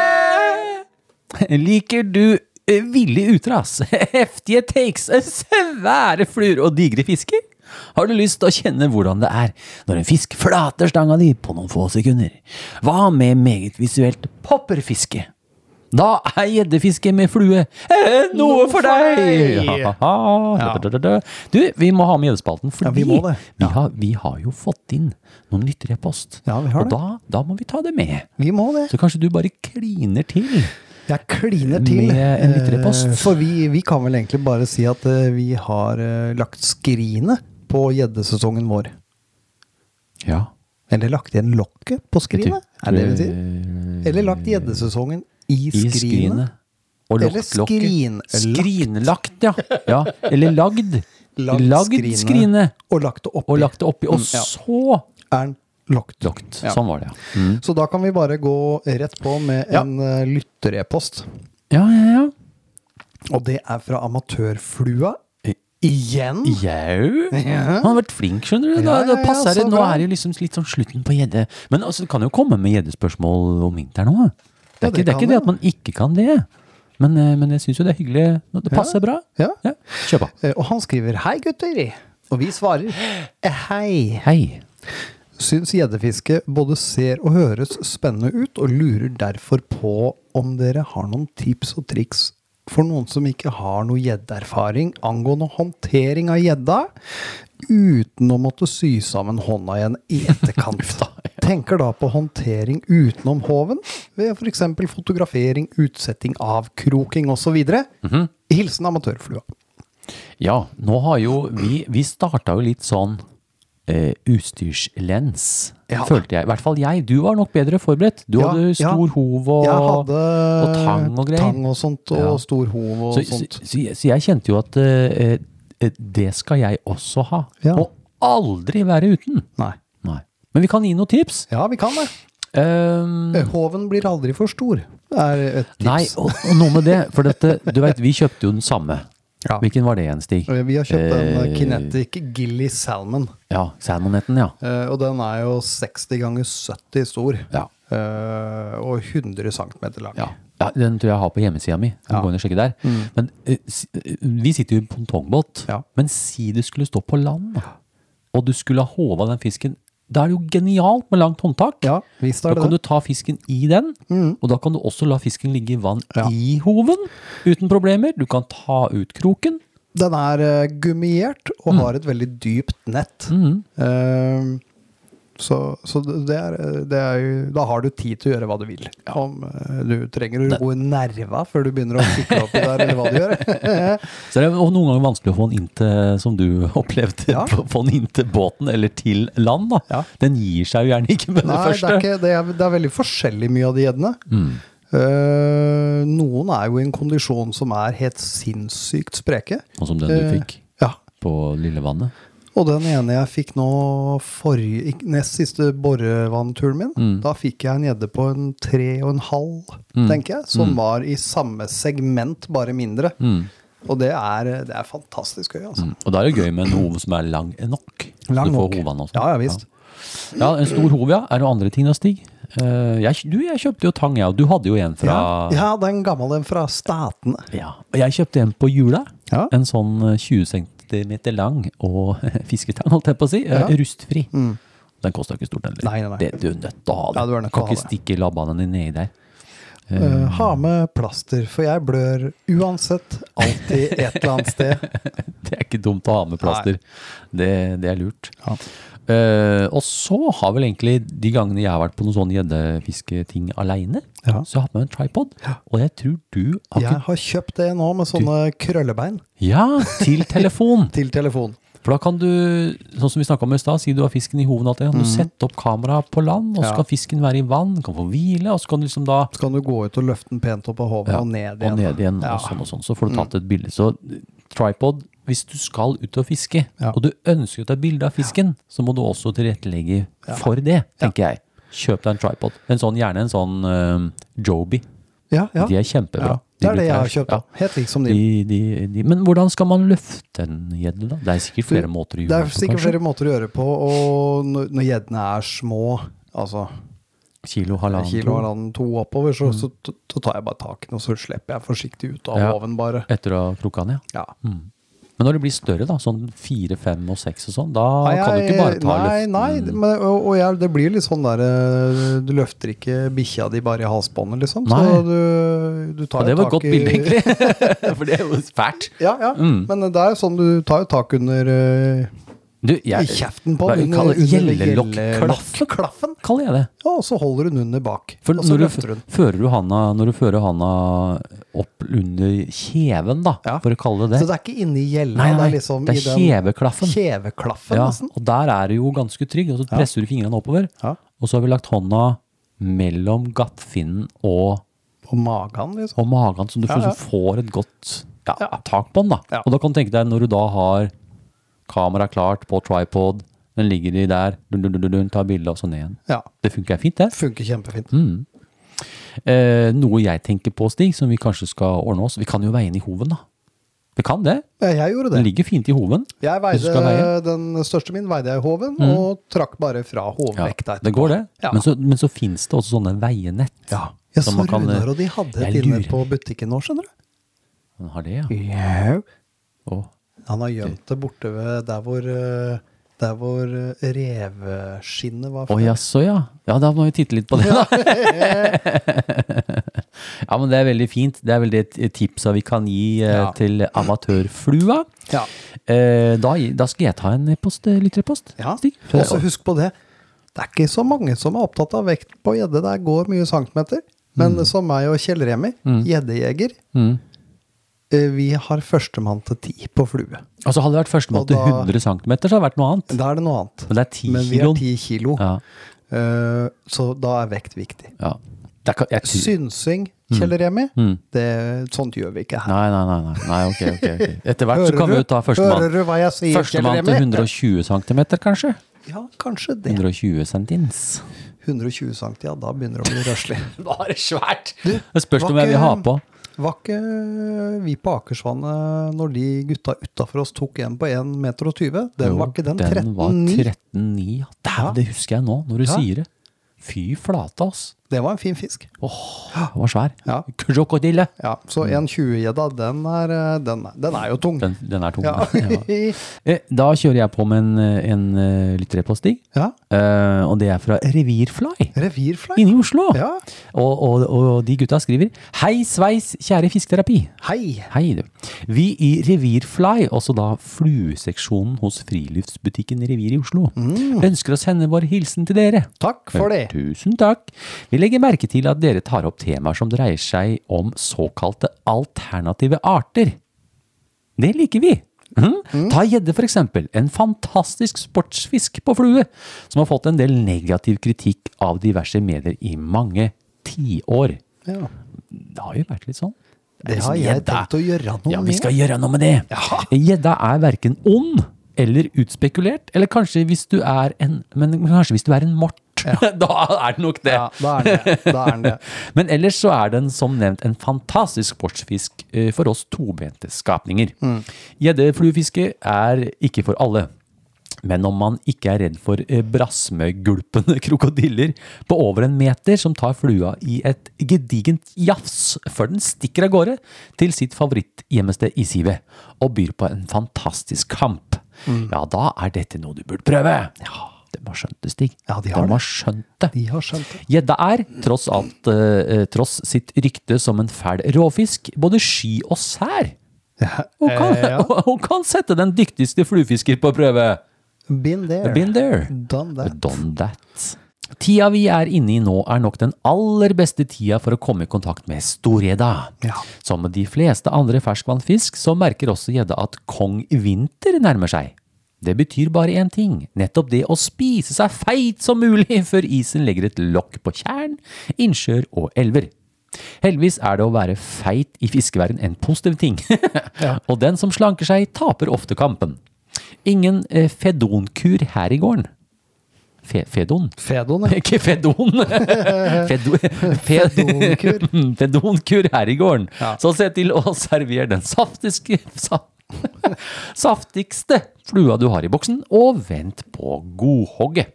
[SPEAKER 2] Liker du eh, villig utras, heftige takes, eh, svære fluer og digre fisker? Har du lyst til å kjenne hvordan det er når en fisk flater stanga di på noen få sekunder? Hva med meget visuelt popperfiske? Da er gjeddefiske med flue eh, noe for deg! Ja. Du, vi må ha med gjeddespalten, fordi
[SPEAKER 6] Ja, vi må det.
[SPEAKER 2] vi har, vi har jo fått inn noen lytterpost.
[SPEAKER 6] Ja, vi har
[SPEAKER 2] og
[SPEAKER 6] det.
[SPEAKER 2] da, da må vi ta det med.
[SPEAKER 6] Vi må det.
[SPEAKER 2] Så kanskje du bare kliner til.
[SPEAKER 6] Jeg kliner til.
[SPEAKER 2] Med en ytre post.
[SPEAKER 6] Eh, For vi, vi kan vel egentlig bare si at eh, vi har eh, lagt skrinet på gjeddesesongen vår.
[SPEAKER 2] Ja.
[SPEAKER 6] Eller lagt igjen lokket på skrinet, er det det vi sier? Eller lagt gjeddesesongen
[SPEAKER 2] Eh,
[SPEAKER 6] i
[SPEAKER 2] I
[SPEAKER 6] skrinet.
[SPEAKER 2] skrinet. Og
[SPEAKER 6] Eller
[SPEAKER 2] lokklokket.
[SPEAKER 6] skrinlagt.
[SPEAKER 2] Skrinlagt, ja. ja. Eller lagd.
[SPEAKER 6] Lagd
[SPEAKER 2] Lagd,
[SPEAKER 6] skrinet.
[SPEAKER 2] skrinet.
[SPEAKER 6] Og lagt det oppi.
[SPEAKER 2] Og lagt det oppi. Og
[SPEAKER 6] Mm, ja.
[SPEAKER 2] så
[SPEAKER 6] Er den lagt.
[SPEAKER 2] lagt.
[SPEAKER 6] Ja.
[SPEAKER 2] Sånn var det, ja. Mm.
[SPEAKER 6] Så da kan vi bare gå rett på med
[SPEAKER 2] Ja.
[SPEAKER 6] en eh, lytterepost.
[SPEAKER 2] Ja, ja, ja.
[SPEAKER 6] Og det er fra Amatørflua. Igjen?
[SPEAKER 2] Jau.
[SPEAKER 6] Ja.
[SPEAKER 2] Han har vært flink, skjønner du. Da,
[SPEAKER 6] Ja, ja,
[SPEAKER 2] da
[SPEAKER 6] ja,
[SPEAKER 2] passer
[SPEAKER 6] så
[SPEAKER 2] det. Nå
[SPEAKER 6] bra.
[SPEAKER 2] er det jo liksom litt sånn slutten på gjedde. Men altså, det kan jo komme med gjeddespørsmål om vinteren òg. Det
[SPEAKER 6] Ja,
[SPEAKER 2] er ikke
[SPEAKER 6] det
[SPEAKER 2] det, er
[SPEAKER 6] kan
[SPEAKER 2] ikke det
[SPEAKER 6] det.
[SPEAKER 2] at man ikke kan det. Men, eh, men jeg syns jo det er hyggelig. når Det passer bra.
[SPEAKER 6] Ja.
[SPEAKER 2] Ja. Kjør på.
[SPEAKER 6] Eh, Og han skriver 'Hei, gutter'. Og vi svarer «Eh, 'Hei'.
[SPEAKER 2] Hei.
[SPEAKER 6] Syns gjeddefiske både ser og høres spennende ut, og lurer derfor på om dere har noen tips og triks for noen som ikke har noe gjeddeerfaring angående håndtering av gjedda, uten å måtte sy sammen hånda igjen i etterkant. tenker da på håndtering utenom håven, ved f.eks. fotografering, utsetting, avkroking osv.
[SPEAKER 2] Mhm.
[SPEAKER 6] Hilsen amatørflua.
[SPEAKER 2] Ja, nå har jo vi Vi starta jo litt sånn eh, utstyrslens,
[SPEAKER 6] Ja.
[SPEAKER 2] følte jeg. I hvert fall jeg. Du var nok bedre forberedt. Du
[SPEAKER 6] Ja,
[SPEAKER 2] hadde
[SPEAKER 6] ja.
[SPEAKER 2] stor hov og,
[SPEAKER 6] Jeg hadde
[SPEAKER 2] og tang og greier.
[SPEAKER 6] tang og sånt, og
[SPEAKER 2] Ja.
[SPEAKER 6] stor hov og
[SPEAKER 2] så, så,
[SPEAKER 6] sånt.
[SPEAKER 2] så, jeg- så jeg kjente jo at eh, eh, det skal jeg også ha.
[SPEAKER 6] Ja.
[SPEAKER 2] Og aldri være uten.
[SPEAKER 6] Nei.
[SPEAKER 2] Nei. Men vi kan gi noen tips.
[SPEAKER 6] Ja, vi kan det.
[SPEAKER 2] Um,
[SPEAKER 6] Hoven blir aldri for stor, er et Eh, tips.
[SPEAKER 2] nei, og, og noe med det. For dette, du vet, vi kjøpte jo den samme.
[SPEAKER 6] Ja.
[SPEAKER 2] Hvilken var det igjen, Stig?
[SPEAKER 6] Vi har kjøpt en
[SPEAKER 2] Eh,
[SPEAKER 6] Kinetic Gilly Salmon,
[SPEAKER 2] Ja, Salmonetten, ja.
[SPEAKER 6] eh, og den er jo 60 ganger 70 stor.
[SPEAKER 2] Ja.
[SPEAKER 6] eh, Og 100 cm lang.
[SPEAKER 2] Ja. ja. Den tror jeg jeg har på hjemmesida mi. Du kan Gå inn og sjekke der. Men eh, si- eh, vi sitter jo i en pongtongbåt.
[SPEAKER 6] Mm. Ja.
[SPEAKER 2] Men si du skulle stå på land, da, og du skulle ha håva den fisken. Da er det jo genialt med langt håndtak.
[SPEAKER 6] Ja, visst
[SPEAKER 2] da
[SPEAKER 6] er det
[SPEAKER 2] kan
[SPEAKER 6] det. Mm.
[SPEAKER 2] du ta fisken i den, og da kan du også la fisken ligge i vann i hoven uten problemer. Du kan ta ut kroken.
[SPEAKER 6] Den er eh, gummiert og
[SPEAKER 2] Mm.
[SPEAKER 6] har et veldig dypt nett. Eh, Så, så det er, det er jo, da har du tid til å gjøre hva du vil. Om eh, du trenger å roe nerva før du begynner å kikke oppi der, eller hva du gjør.
[SPEAKER 2] Så det er jo noen ganger vanskelig å få den inn til, som du opplevde,
[SPEAKER 6] Ja.
[SPEAKER 2] få den inn til båten eller til land. da.
[SPEAKER 6] Ja.
[SPEAKER 2] Den gir seg jo gjerne ikke med det
[SPEAKER 6] Nei, det
[SPEAKER 2] første. Mm.
[SPEAKER 6] er, ikke, det, er, det er veldig forskjellig mye av de gjeddene. Eh, noen er jo i en kondisjon som er helt sinnssykt spreke.
[SPEAKER 2] Sånn som den du
[SPEAKER 6] Eh,
[SPEAKER 2] fikk
[SPEAKER 6] Ja.
[SPEAKER 2] på Lillevannet.
[SPEAKER 6] Og den ene jeg fikk nå forrige, ikk- nest siste borrevannturen min,
[SPEAKER 2] Mm.
[SPEAKER 6] da fikk jeg en gjedde på en tre og en halv, tenker jeg,
[SPEAKER 2] Mm.
[SPEAKER 6] som var i samme segment, bare mindre. Og det er, det er fantastisk gøy, altså.
[SPEAKER 2] Og da er det gøy med en hov som er lang nok.
[SPEAKER 6] Lang
[SPEAKER 2] Mm. du får
[SPEAKER 6] nok.
[SPEAKER 2] hoven også.
[SPEAKER 6] Ja, ja visst.
[SPEAKER 2] Ja. ja, en stor hov, ja. Er det noen andre ting da, Stig? Eh, jeg, du, jeg kjøpte jo tang, jeg, og du hadde jo en fra
[SPEAKER 6] Ja, ja, den gamle den fra Statene.
[SPEAKER 2] Ja. Og Jeg kjøpte en på jula.
[SPEAKER 6] Ja.
[SPEAKER 2] En sånn eh, 20 cm lang og fisketang, holdt jeg på å si. eh,
[SPEAKER 6] Ja. Mm.
[SPEAKER 2] Rustfri. Den kosta ikke stort heller.
[SPEAKER 6] Nei, nei, nei.
[SPEAKER 2] Det du er nødt til å ha. det.
[SPEAKER 6] Ja, du er nødt til
[SPEAKER 2] kan
[SPEAKER 6] å ha
[SPEAKER 2] ikke stikke labbene dine nedi der.
[SPEAKER 6] Eh, ha med plaster, for jeg blør uansett alltid et eller annet sted.
[SPEAKER 2] Det er ikke dumt å ha med plaster. Det, det er lurt.
[SPEAKER 6] Ja.
[SPEAKER 2] Eh, og så har vel egentlig de gangene jeg har vært på noen sånne gjeddefisketing aleine,
[SPEAKER 6] Ja.
[SPEAKER 2] så jeg har jeg hatt med meg en tripod. Og jeg tror du har
[SPEAKER 6] Jeg
[SPEAKER 2] ikke
[SPEAKER 6] har kjøpt det nå med sånne krøllebein
[SPEAKER 2] Ja, til telefon!
[SPEAKER 6] til telefon.
[SPEAKER 2] For da kan du, sånn som vi snakka om i stad, si du har fisken i hoven og alt det, kan du sette opp kameraet på land, og så
[SPEAKER 6] Mm. Ja.
[SPEAKER 2] kan fisken være i vann, den kan få hvile, og så kan du liksom da
[SPEAKER 6] Så kan du gå ut og løfte den pent opp av hodet og ned igjen.
[SPEAKER 2] Og ned igjen,
[SPEAKER 6] Ja. Mm.
[SPEAKER 2] og sånn og sånn. Så får du tatt et bilde. Så tripod, hvis du skal ut og fiske,
[SPEAKER 6] Ja.
[SPEAKER 2] og du ønsker å ta bilde av fisken, så må du også tilrettelegge for det, tenker jeg. Kjøp deg en tripod. En sånn, gjerne en sånn øhm, Joby.
[SPEAKER 6] Ja, ja.
[SPEAKER 2] De er kjempebra.
[SPEAKER 6] Ja, det
[SPEAKER 2] De
[SPEAKER 6] er det
[SPEAKER 2] bruker
[SPEAKER 6] jeg har
[SPEAKER 2] jeg.
[SPEAKER 6] kjøpt. da. Helt lik som
[SPEAKER 2] De,
[SPEAKER 6] din.
[SPEAKER 2] de, de, men hvordan skal man løfte en gjedde, da? Det er sikkert flere måter å
[SPEAKER 6] Det
[SPEAKER 2] gjøre
[SPEAKER 6] er sikkert flere måter å gjøre på, og når når gjeddene er små, altså
[SPEAKER 2] Kilo, halvannen,
[SPEAKER 6] kilo
[SPEAKER 2] to, Mm.
[SPEAKER 6] halvannen, to oppover, så, så, t- så tar jeg bare tak i den, og så slipper jeg forsiktig ut av
[SPEAKER 2] Ja.
[SPEAKER 6] hoven, bare.
[SPEAKER 2] etter å ha krukka den, ja.
[SPEAKER 6] Ja.
[SPEAKER 2] Men når det blir større, da, sånn fire, fem og seks og sånn, da kan du ikke bare ta Mm.
[SPEAKER 6] nei,
[SPEAKER 2] løften.
[SPEAKER 6] nei, det- men, og, og jeg, det blir litt sånn der eh, Du løfter ikke bikkja di bare i halsbåndet, liksom.
[SPEAKER 2] Nei.
[SPEAKER 6] Så du, du tar
[SPEAKER 2] Ja, det
[SPEAKER 6] jo
[SPEAKER 2] var et
[SPEAKER 6] tak
[SPEAKER 2] godt
[SPEAKER 6] i-
[SPEAKER 2] bilde, egentlig. Mm. For det er jo fælt.
[SPEAKER 6] Ja, ja. Men det er jo sånn, du tar jo tak under eh,
[SPEAKER 2] Du, jeg,
[SPEAKER 6] I kjeften på
[SPEAKER 2] Hva
[SPEAKER 6] den,
[SPEAKER 2] kaller det?
[SPEAKER 6] under- under
[SPEAKER 2] Gjellelokklaffen?
[SPEAKER 6] gjellelokklaffen.
[SPEAKER 2] kaller jeg det.
[SPEAKER 6] Ja, og så holder hun under bak.
[SPEAKER 2] For
[SPEAKER 6] og så
[SPEAKER 2] når du,
[SPEAKER 6] løfter hun.
[SPEAKER 2] f- fører du handa, når du fører handa opp under kjeven, da,
[SPEAKER 6] Ja.
[SPEAKER 2] for å kalle det
[SPEAKER 6] Så
[SPEAKER 2] det
[SPEAKER 6] det er ikke inni gjella,
[SPEAKER 2] Nei,
[SPEAKER 6] det
[SPEAKER 2] nei,
[SPEAKER 6] er liksom
[SPEAKER 2] det er
[SPEAKER 6] i den
[SPEAKER 2] kjeveklaffen.
[SPEAKER 6] Kjeveklaffen,
[SPEAKER 2] ja,
[SPEAKER 6] nesten.
[SPEAKER 2] Og der er du jo ganske trygg, og så presser du fingrene oppover.
[SPEAKER 6] Ja.
[SPEAKER 2] Og så har vi lagt hånda mellom gattfinnen og,
[SPEAKER 6] På magen, liksom.
[SPEAKER 2] og magen, så du
[SPEAKER 6] Ja, ja.
[SPEAKER 2] får- får et godt ja, tak på den. da.
[SPEAKER 6] Ja.
[SPEAKER 2] Og da kan du tenke deg, når du da har kameraet klart på tripod, den ligger i der, dun, dun, dun, dun, dun, tar bilde og så ned igjen.
[SPEAKER 6] Ja.
[SPEAKER 2] Det funker fint, det.
[SPEAKER 6] Funker kjempefint.
[SPEAKER 2] Mm. Eh, noe jeg tenker på, Stig, som vi kanskje skal ordne oss. Vi kan jo veie den i hoven, da. Vi kan det.
[SPEAKER 6] Ja, jeg gjorde
[SPEAKER 2] Den
[SPEAKER 6] det.
[SPEAKER 2] ligger fint i hoven.
[SPEAKER 6] Jeg
[SPEAKER 2] Hvis du skal
[SPEAKER 6] veide
[SPEAKER 2] veie. Mm.
[SPEAKER 6] den største min veide jeg i hoven, og trakk bare fra
[SPEAKER 2] Ja,
[SPEAKER 6] hovedvekta
[SPEAKER 2] det går, det.
[SPEAKER 6] Ja.
[SPEAKER 2] Men så, men så fins det også sånne veienett.
[SPEAKER 6] Ja. Jeg
[SPEAKER 2] Som
[SPEAKER 6] så
[SPEAKER 2] man kan, eh,
[SPEAKER 6] Runar og de hadde et
[SPEAKER 2] jeg
[SPEAKER 6] inne
[SPEAKER 2] lurer.
[SPEAKER 6] på butikken nå, skjønner du.
[SPEAKER 2] Den har det, ja. Å,
[SPEAKER 6] Han har gjemt det borte ved der hvor eh, der hvor eh, reveskinnet
[SPEAKER 2] Å,
[SPEAKER 6] var. før.
[SPEAKER 2] jaså, ja. Ja, da må vi titte litt på det, da. ja, men det er veldig fint. Det er vel det t- tipsa vi kan gi eh,
[SPEAKER 6] Ja.
[SPEAKER 2] til amatørflua.
[SPEAKER 6] Ja.
[SPEAKER 2] Eh, da, da skal jeg ta en post, eh, lytterpost.
[SPEAKER 6] Ja,
[SPEAKER 2] Stig.
[SPEAKER 6] og så husk på det. Det er ikke så mange som er opptatt av vekt på gjedde. Det går mye centimeter. Men
[SPEAKER 2] Mm.
[SPEAKER 6] som meg og Kjell Remi, gjeddejeger, eh, vi har førstemann til ti på flue.
[SPEAKER 2] Altså Hadde det vært førstemann
[SPEAKER 6] Og
[SPEAKER 2] til
[SPEAKER 6] da-
[SPEAKER 2] 100 cm, så hadde det vært noe annet.
[SPEAKER 6] Da er det noe annet.
[SPEAKER 2] Men det er 10
[SPEAKER 6] Men vi er
[SPEAKER 2] kiloen.
[SPEAKER 6] ti kilo.
[SPEAKER 2] Ja,
[SPEAKER 6] Eh, så da er vekt viktig.
[SPEAKER 2] ja. Det er, ikke- jeg, tror-
[SPEAKER 6] Synsing,
[SPEAKER 2] Mm.
[SPEAKER 6] Kjell Remi, det, sånt gjør vi ikke her.
[SPEAKER 2] Nei, nei, nei. nei, nei ok, ok, ok. Etter hvert så kan vi jo ta
[SPEAKER 6] hører du
[SPEAKER 2] førstemann.
[SPEAKER 6] hva jeg sier,
[SPEAKER 2] Førstemann til 120 cm, kanskje?
[SPEAKER 6] Ja, kanskje det.
[SPEAKER 2] 120 sentins.
[SPEAKER 6] 120 cm, ja, da begynner det å bli røslig.
[SPEAKER 2] Da er det svært! Det spørs om
[SPEAKER 6] var
[SPEAKER 2] jeg vil
[SPEAKER 6] ikke-
[SPEAKER 2] ha på.
[SPEAKER 6] Var ikke vi på Akersvannet når de gutta utafor oss tok en på 1,20 meter? Den var ikke den
[SPEAKER 2] Den var
[SPEAKER 6] 13,9?
[SPEAKER 2] 13,9. Ja, dæven, det husker jeg nå, når du
[SPEAKER 6] Ja.
[SPEAKER 2] sier det. Fy flate, ass.
[SPEAKER 6] Det var en fin fisk.
[SPEAKER 2] Den var svær.
[SPEAKER 6] Ja.
[SPEAKER 2] Krokodille!
[SPEAKER 6] Ja, Så 1,20-gjedda, den, er, eh, den, er- den er jo tung.
[SPEAKER 2] Mm. Den, den er tung.
[SPEAKER 6] ja.
[SPEAKER 2] Ja. Eh, Da kjører jeg på med en, eh, en eh, litt repostig,
[SPEAKER 6] ja.
[SPEAKER 2] Eh, og det er fra Revirfly.
[SPEAKER 6] Revirfly.
[SPEAKER 2] Inne i Oslo.
[SPEAKER 6] Ja.
[SPEAKER 2] Og, og, og de gutta skriver Hei sveis, kjære fisketerapi.
[SPEAKER 6] Hei.
[SPEAKER 2] Hei, du. Vi i Revirfly, også da flueseksjonen hos friluftsbutikken Revir i Oslo,
[SPEAKER 6] Mm.
[SPEAKER 2] ønsker å sende vår hilsen til dere.
[SPEAKER 6] Takk for det.
[SPEAKER 2] Tusen takk. Vi legger merke til at dere tar opp temaer som dreier seg om såkalte alternative arter. Det liker vi. Mhm.
[SPEAKER 6] Mm.
[SPEAKER 2] Ta gjedde for eksempel, en fantastisk sportsfisk på flue, som har fått en del negativ kritikk av diverse medier i mange tiår.
[SPEAKER 6] Ja.
[SPEAKER 2] Det har jo vært litt sånn.
[SPEAKER 6] Det har
[SPEAKER 2] liksom gjedda.
[SPEAKER 6] jeg tenkt å gjøre noe
[SPEAKER 2] Ja, vi
[SPEAKER 6] med.
[SPEAKER 2] skal gjøre noe med det. Gjedda er verken ond eller utspekulert, eller kanskje hvis du er en, men kanskje hvis du er en mort. Da er det nok det.
[SPEAKER 6] Ja, da er den det. Da er den det.
[SPEAKER 2] Men ellers så er den som nevnt en fantastisk sportsfisk eh, for oss tobente skapninger.
[SPEAKER 6] Mm.
[SPEAKER 2] Gjeddefluefiske er ikke for alle. Men om man ikke er redd for eh, brasmegulpende krokodiller på over en meter som tar flua i et gedigent jafs før den stikker av gårde til sitt favorittgjemmested i sivet og byr på en fantastisk kamp,
[SPEAKER 6] Mm.
[SPEAKER 2] ja, da er dette noe du burde prøve. Ja, de har skjønt det, Stig.
[SPEAKER 6] Ja, de har det.
[SPEAKER 2] har skjønt det.
[SPEAKER 6] De har skjønt det.
[SPEAKER 2] Gjedda er, tross, alt, eh, eh, tross sitt rykte som en fæl råfisk, både sky og sær. Hun kan,
[SPEAKER 6] eh,
[SPEAKER 2] hun kan sette den dyktigste fluefisker på prøve.
[SPEAKER 6] Been there.
[SPEAKER 2] Been there.
[SPEAKER 6] Done that.
[SPEAKER 2] Done that. Tida vi er inne i nå, er nok den aller beste tida for å komme i kontakt med storgjedda.
[SPEAKER 6] Ja.
[SPEAKER 2] Som med de fleste andre ferskvannfisk, så merker også gjedda at kong vinter nærmer seg. Det betyr bare én ting, nettopp det å spise seg feit som mulig før isen legger et lokk på tjern, innsjøer og elver. Heldigvis er det å være feit i fiskeverden en positiv ting, og den som slanker seg, taper ofte kampen. Ingen eh, fedonkur her i gården. Fe, fedon?
[SPEAKER 6] Fedon, ja.
[SPEAKER 2] Ikke Fedon. Fedo, fe,
[SPEAKER 6] Fedonkur.
[SPEAKER 2] Fedonkur her i gården.
[SPEAKER 6] Ja.
[SPEAKER 2] Så se til å servere den saftiske, sa, saftigste flua du har i boksen, og vent på godhogget.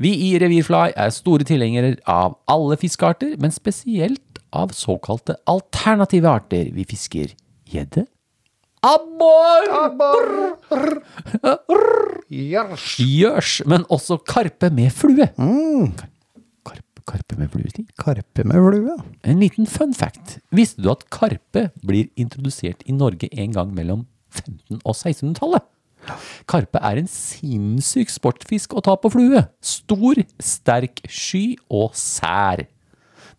[SPEAKER 2] Vi i Revirfly er store tilhengere av alle fiskearter, men spesielt av såkalte alternative arter. Vi fisker gjedde, abbor,
[SPEAKER 5] Jars.
[SPEAKER 2] gjørs, men også karpe med flue. Kar- Karpe, karpe med flue, Stig?
[SPEAKER 6] Karpe med flue.
[SPEAKER 2] En liten fun fact. Visste du at karpe blir introdusert i Norge en gang mellom 1500- og 1600-tallet? Karpe er en sinnssyk sportfisk å ta på flue. Stor, sterk, sky og sær.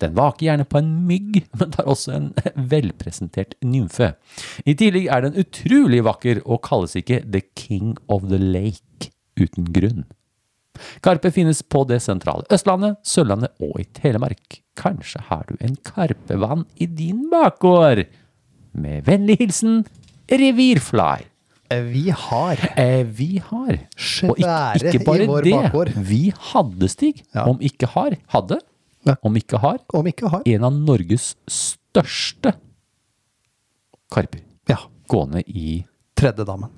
[SPEAKER 2] Den vaker gjerne på en mygg, men tar også en velpresentert nymfe. I tillegg er den utrolig vakker og kalles ikke The King of the Lake uten grunn. Karpe finnes på det sentrale Østlandet, Sørlandet og i Telemark. Kanskje har du en karpevann i din bakgård? Med vennlig hilsen Revirfly.
[SPEAKER 6] Eh, Vi har
[SPEAKER 2] Eh, vi har, og ikke,
[SPEAKER 6] Svære
[SPEAKER 2] ikke
[SPEAKER 6] i
[SPEAKER 2] bare
[SPEAKER 6] vår
[SPEAKER 2] det,
[SPEAKER 6] bakgård.
[SPEAKER 2] vi hadde, Stig,
[SPEAKER 6] Ja.
[SPEAKER 2] om ikke har, hadde,
[SPEAKER 6] Ja.
[SPEAKER 2] om ikke har,
[SPEAKER 6] Om ikke har.
[SPEAKER 2] en av Norges største karper
[SPEAKER 6] Ja.
[SPEAKER 2] gående i
[SPEAKER 6] Tredjedammen.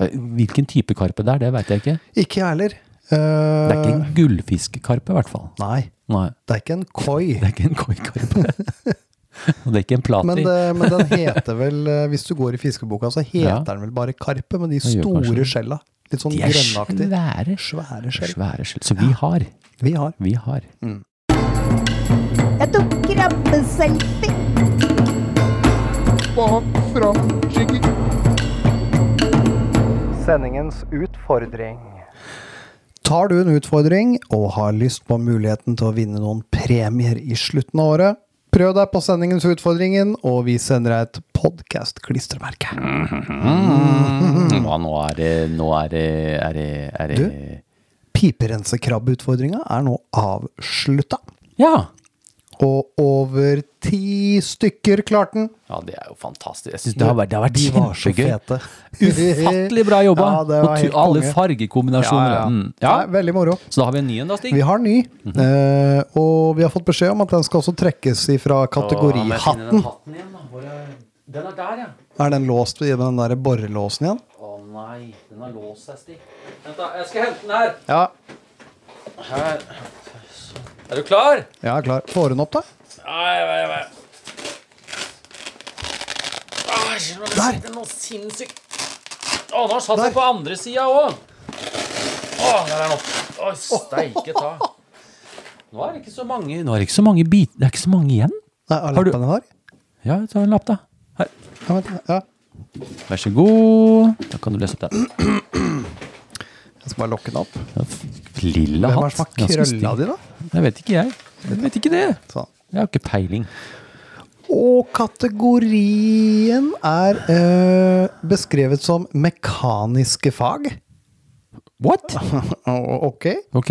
[SPEAKER 2] Eh, Hvilken type karpe det er, det veit jeg ikke.
[SPEAKER 6] Ikke jeg heller. Eh,
[SPEAKER 2] Det er ikke en gullfiskkarpe, i hvert fall.
[SPEAKER 6] Nei.
[SPEAKER 2] Nei.
[SPEAKER 6] Det er ikke en koi.
[SPEAKER 2] Det er ikke en koikarpe. Og det er ikke en plati.
[SPEAKER 6] Men, eh, det, men den heter vel, eh, hvis du går i fiskeboka, så heter
[SPEAKER 2] Ja.
[SPEAKER 6] den vel bare karpe, med de
[SPEAKER 2] gjør kanskje
[SPEAKER 6] store
[SPEAKER 2] det.
[SPEAKER 6] skjella. Litt sånn
[SPEAKER 2] de er
[SPEAKER 6] grønnaktig.
[SPEAKER 2] svære.
[SPEAKER 6] Svære skjell.
[SPEAKER 2] Svære skjell. Så vi har.
[SPEAKER 6] Vi har.
[SPEAKER 2] Vi har.
[SPEAKER 7] Jeg tok krabbeselfie.
[SPEAKER 5] Bak fram, jiggy.
[SPEAKER 3] Sendingens utfordring.
[SPEAKER 6] Tar du en utfordring og har lyst på muligheten til å vinne noen premier i slutten av året, prøv deg på sendingens utfordringen, og vi sender deg et podkast-klistremerke.
[SPEAKER 2] Ja, nå er det Nå er det, er det, er det.
[SPEAKER 6] Mm. Du? Piperensekrabbeutfordringa er nå avslutta,
[SPEAKER 2] Ja.
[SPEAKER 6] og over ti stykker klarte den.
[SPEAKER 2] ja, det er jo fantastisk. Jeg synes det har vært, det har vært
[SPEAKER 6] De var så
[SPEAKER 2] kjempegøy.
[SPEAKER 6] fete.
[SPEAKER 2] Ufattelig bra jobba.
[SPEAKER 6] Ja, det var
[SPEAKER 2] og tu-
[SPEAKER 6] helt
[SPEAKER 2] alle
[SPEAKER 6] konge.
[SPEAKER 2] fargekombinasjoner.
[SPEAKER 6] Ja, ja.
[SPEAKER 2] Mm.
[SPEAKER 6] Ja.
[SPEAKER 2] ja.
[SPEAKER 6] veldig moro.
[SPEAKER 2] Så da har vi en ny en, da, Stig.
[SPEAKER 6] Vi har ny, eh, og vi har fått beskjed om at den skal også trekkes ifra kategorihatten.
[SPEAKER 2] Den er der, ja.
[SPEAKER 6] Er den låst i den der borrelåsen igjen?
[SPEAKER 2] Å nei, den har låst seg, Stig. Vent, da. Jeg skal hente den her.
[SPEAKER 6] Ja.
[SPEAKER 2] her. Er du klar?
[SPEAKER 6] Jeg er klar. Får hun opp, da?
[SPEAKER 2] Nei, nei, nei. Der! Det er noe sinnssykt. Å, nå har han satt seg på andre sida òg. Å, der er han oppe. Å, steike ta. Nå er det ikke så mange Nå er det ikke så mange bit... Det er ikke så mange igjen.
[SPEAKER 6] Nei, er
[SPEAKER 2] Har du-
[SPEAKER 6] lappen den har?
[SPEAKER 2] Ja, ta en lapp, da. Her.
[SPEAKER 6] Ja, vent, ja.
[SPEAKER 2] Vær så god. Da kan du lese opp den.
[SPEAKER 6] Jeg skal bare lokke den opp. Hvem
[SPEAKER 2] Lilla
[SPEAKER 6] er det som har
[SPEAKER 2] Ganske
[SPEAKER 6] krølla
[SPEAKER 2] stygg.
[SPEAKER 6] di, da?
[SPEAKER 2] Jeg vet ikke, jeg. Jeg vet ikke det.
[SPEAKER 6] Sånn.
[SPEAKER 2] Jeg har ikke peiling.
[SPEAKER 6] Og kategorien er eh, beskrevet som mekaniske fag.
[SPEAKER 2] What?
[SPEAKER 6] ok.
[SPEAKER 2] Ok.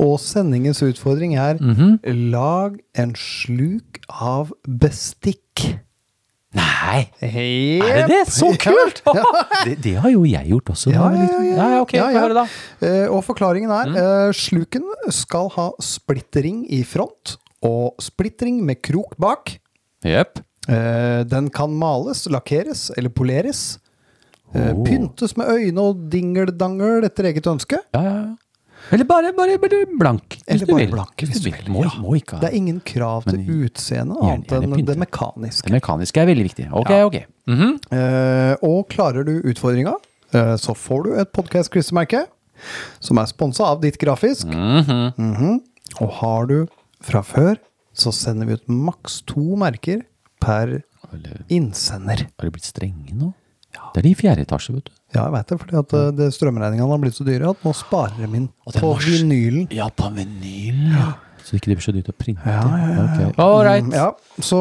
[SPEAKER 6] Og sendingens utfordring er
[SPEAKER 2] Mhm.
[SPEAKER 6] lag en sluk av bestikk.
[SPEAKER 2] Nei. Er det
[SPEAKER 6] Jepp.
[SPEAKER 2] det? Så kult! det, det har jo jeg gjort også. da,
[SPEAKER 6] Ja, ja,
[SPEAKER 2] litt.
[SPEAKER 6] ja,
[SPEAKER 2] ja, ja, ok,
[SPEAKER 6] ja,
[SPEAKER 2] få
[SPEAKER 6] ja.
[SPEAKER 2] høre da. Mm.
[SPEAKER 6] Eh, og forklaringen er eh, sluken skal ha splittering i front og splittering med krok bak.
[SPEAKER 2] Jepp.
[SPEAKER 6] Eh, den kan males, lakkeres eller poleres. Eh,
[SPEAKER 2] Oh.
[SPEAKER 6] Pyntes med øyne og dingeldangel etter eget ønske.
[SPEAKER 2] Ja, ja, ja. Eller bare, bare, bare blank. hvis
[SPEAKER 6] Eller
[SPEAKER 2] du
[SPEAKER 6] bare
[SPEAKER 2] vil.
[SPEAKER 6] blank,
[SPEAKER 2] Hvis du vil. Må,
[SPEAKER 6] ja.
[SPEAKER 2] må ikke
[SPEAKER 6] Det
[SPEAKER 2] ha
[SPEAKER 6] er ingen krav til utseende
[SPEAKER 2] gjerne-
[SPEAKER 6] annet
[SPEAKER 2] gjerne
[SPEAKER 6] enn det
[SPEAKER 2] pynte.
[SPEAKER 6] mekaniske.
[SPEAKER 2] Det mekaniske er veldig viktig. Ok, ok. Mhm.
[SPEAKER 6] Eh, og klarer du utfordringa, eh, så får du et podkast-klistremerke som er sponsa av Ditt Grafisk. Mhm. Og har du fra før, så sender vi ut maks to merker per innsender.
[SPEAKER 2] Har de blitt strenge nå? Det er de i fjerde etasje, vet du.
[SPEAKER 6] Ja, jeg veit det, fordi at eh, det- strømregningene har blitt så dyre at nå sparer de inn på vinylen.
[SPEAKER 2] Ja, på vinyl. Ja. Så ikke de blir så dyrt å printe. Ja, ja, ja. All right.
[SPEAKER 6] Mm, Ja, så,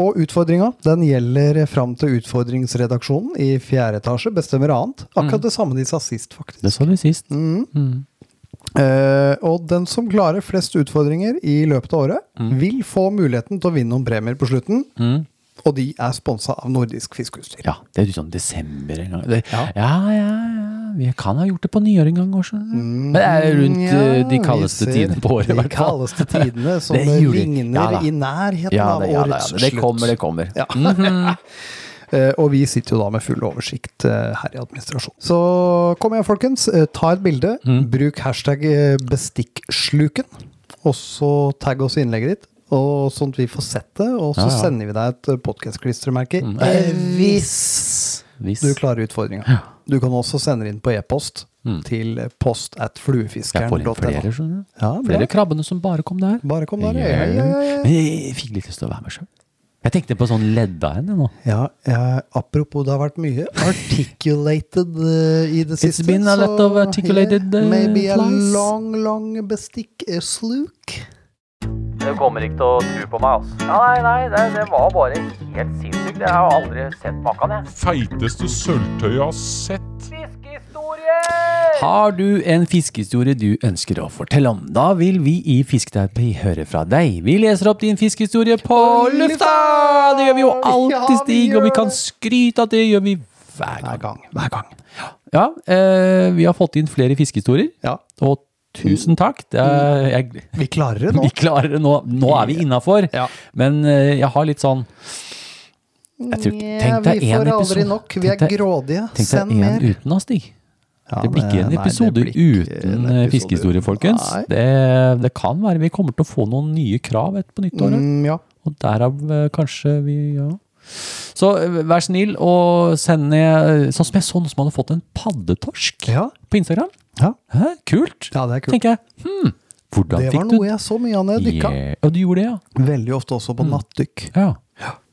[SPEAKER 6] og utfordringa den gjelder fram til utfordringsredaksjonen i fjerde etasje bestemmer annet.
[SPEAKER 2] Mm.
[SPEAKER 6] Akkurat det samme de sa sist, faktisk.
[SPEAKER 2] Det sa de sist.
[SPEAKER 6] Mm. Eh, og den som klarer flest utfordringer i løpet av året,
[SPEAKER 2] Mm.
[SPEAKER 6] vil få muligheten til å vinne noen premier på slutten. Og de er sponsa av Nordisk Fiskeutstyr.
[SPEAKER 2] Ja, det er litt sånn desember en gang. Det, ja. ja, ja, Vi kan ha gjort det på nyår en gang også. Men det er rundt eh, de
[SPEAKER 6] Mm, Ja, vi
[SPEAKER 2] kaldeste
[SPEAKER 6] ser
[SPEAKER 2] tidene på året, i
[SPEAKER 6] De
[SPEAKER 2] hvert fall.
[SPEAKER 6] kaldeste tidene som
[SPEAKER 2] Det er juli.
[SPEAKER 6] ligner
[SPEAKER 2] Ja da.
[SPEAKER 6] i nærheten
[SPEAKER 2] Ja,
[SPEAKER 6] av
[SPEAKER 2] det,
[SPEAKER 6] årets
[SPEAKER 2] ja, det, ja, det, det
[SPEAKER 6] slutt.
[SPEAKER 2] kommer, det kommer. Mhm.
[SPEAKER 6] Ja. Eh, og vi sitter jo da med full oversikt eh, her i administrasjonen. Så kom igjen, folkens. eh, Ta et bilde.
[SPEAKER 2] Mm.
[SPEAKER 6] Bruk hashtag eh, 'bestikksluken', og så tagg oss i innlegget ditt. Og sånn at vi får sett det, og så sender vi deg et podkast-klistremerke. Eh, Hvis
[SPEAKER 2] Mm. Hvis.
[SPEAKER 6] du klarer utfordringa. Du kan også sende det inn på e-post til post at
[SPEAKER 2] Mm. Jeg får inn flere,
[SPEAKER 6] fluefiskeren.no.
[SPEAKER 2] skjønner du.
[SPEAKER 6] Ja, bra.
[SPEAKER 2] flere krabbene som bare kom der.
[SPEAKER 6] Bare kom der.
[SPEAKER 2] Ja,
[SPEAKER 6] Ja, ja, ja, ja.
[SPEAKER 2] Men jeg fikk litt lyst til å være med sjøl. Jeg tenkte på sånn ledda henne nå.
[SPEAKER 6] Ja, jeg- apropos det har vært mye articulated eh, i det siste.
[SPEAKER 2] been a lot
[SPEAKER 6] så
[SPEAKER 2] of articulated, eh,
[SPEAKER 6] Maybe a
[SPEAKER 2] flies.
[SPEAKER 6] long, long bestikk eh, sluk.
[SPEAKER 3] Du kommer ikke til å tro på meg, altså. Nei, nei, det, det var bare helt sinnssykt. Jeg har aldri sett maken, jeg.
[SPEAKER 4] Feiteste sølvtøyet jeg har sett.
[SPEAKER 3] Fiskehistorier!
[SPEAKER 2] Har du en fiskehistorie du ønsker å fortelle om? Da vil vi i Fisketerapi høre fra deg. Vi leser opp din fiskehistorie på lufta! Det gjør vi jo alltid,
[SPEAKER 6] Ja, vi
[SPEAKER 2] Stig, og
[SPEAKER 6] gjør
[SPEAKER 2] vi kan
[SPEAKER 6] det.
[SPEAKER 2] skryte at det gjør vi hver
[SPEAKER 6] Hver
[SPEAKER 2] gang.
[SPEAKER 6] gang. Hver gang.
[SPEAKER 2] Ja, eh, vi har fått inn flere fiskehistorier,
[SPEAKER 6] Ja.
[SPEAKER 2] og tusen takk. Det er, jeg,
[SPEAKER 6] Vi klarer det nå.
[SPEAKER 2] vi klarer det nå. Nå er vi innafor,
[SPEAKER 6] Mm. Ja.
[SPEAKER 2] men eh, jeg har litt sånn jeg tror, ikke- Tenk deg
[SPEAKER 6] Mm, vi
[SPEAKER 2] én
[SPEAKER 6] får aldri
[SPEAKER 2] episode.
[SPEAKER 6] nok. Vi er
[SPEAKER 2] Tenk deg-
[SPEAKER 6] grådige.
[SPEAKER 2] Tenk deg
[SPEAKER 6] Send
[SPEAKER 2] én
[SPEAKER 6] mer.
[SPEAKER 2] uten oss, Stig.
[SPEAKER 6] Ja,
[SPEAKER 2] Det blir ikke en
[SPEAKER 6] nei, det
[SPEAKER 2] episode
[SPEAKER 6] blir ikke en
[SPEAKER 2] uten eh,
[SPEAKER 6] episode
[SPEAKER 2] fiskehistorie,
[SPEAKER 6] uten-
[SPEAKER 2] folkens.
[SPEAKER 6] Nei.
[SPEAKER 2] Det, det kan være vi kommer til å få noen nye krav et på nyttåret.
[SPEAKER 6] Mm, ja.
[SPEAKER 2] Og derav eh, kanskje vi ja. Så eh, vær snill og send ned Sånn som jeg så noen som hadde fått en paddetorsk
[SPEAKER 6] Ja.
[SPEAKER 2] på Instagram.
[SPEAKER 6] Ja.
[SPEAKER 2] Hæ? Kult,
[SPEAKER 6] ja, det er kult.
[SPEAKER 2] tenker jeg. Hmm, hvordan
[SPEAKER 6] Det var
[SPEAKER 2] fikk du
[SPEAKER 6] noe jeg så mye av når jeg dykka.
[SPEAKER 2] Ja, du gjorde det, ja.
[SPEAKER 6] Veldig
[SPEAKER 2] Mm.
[SPEAKER 6] ofte også på nattdykk.
[SPEAKER 2] hmm, ja.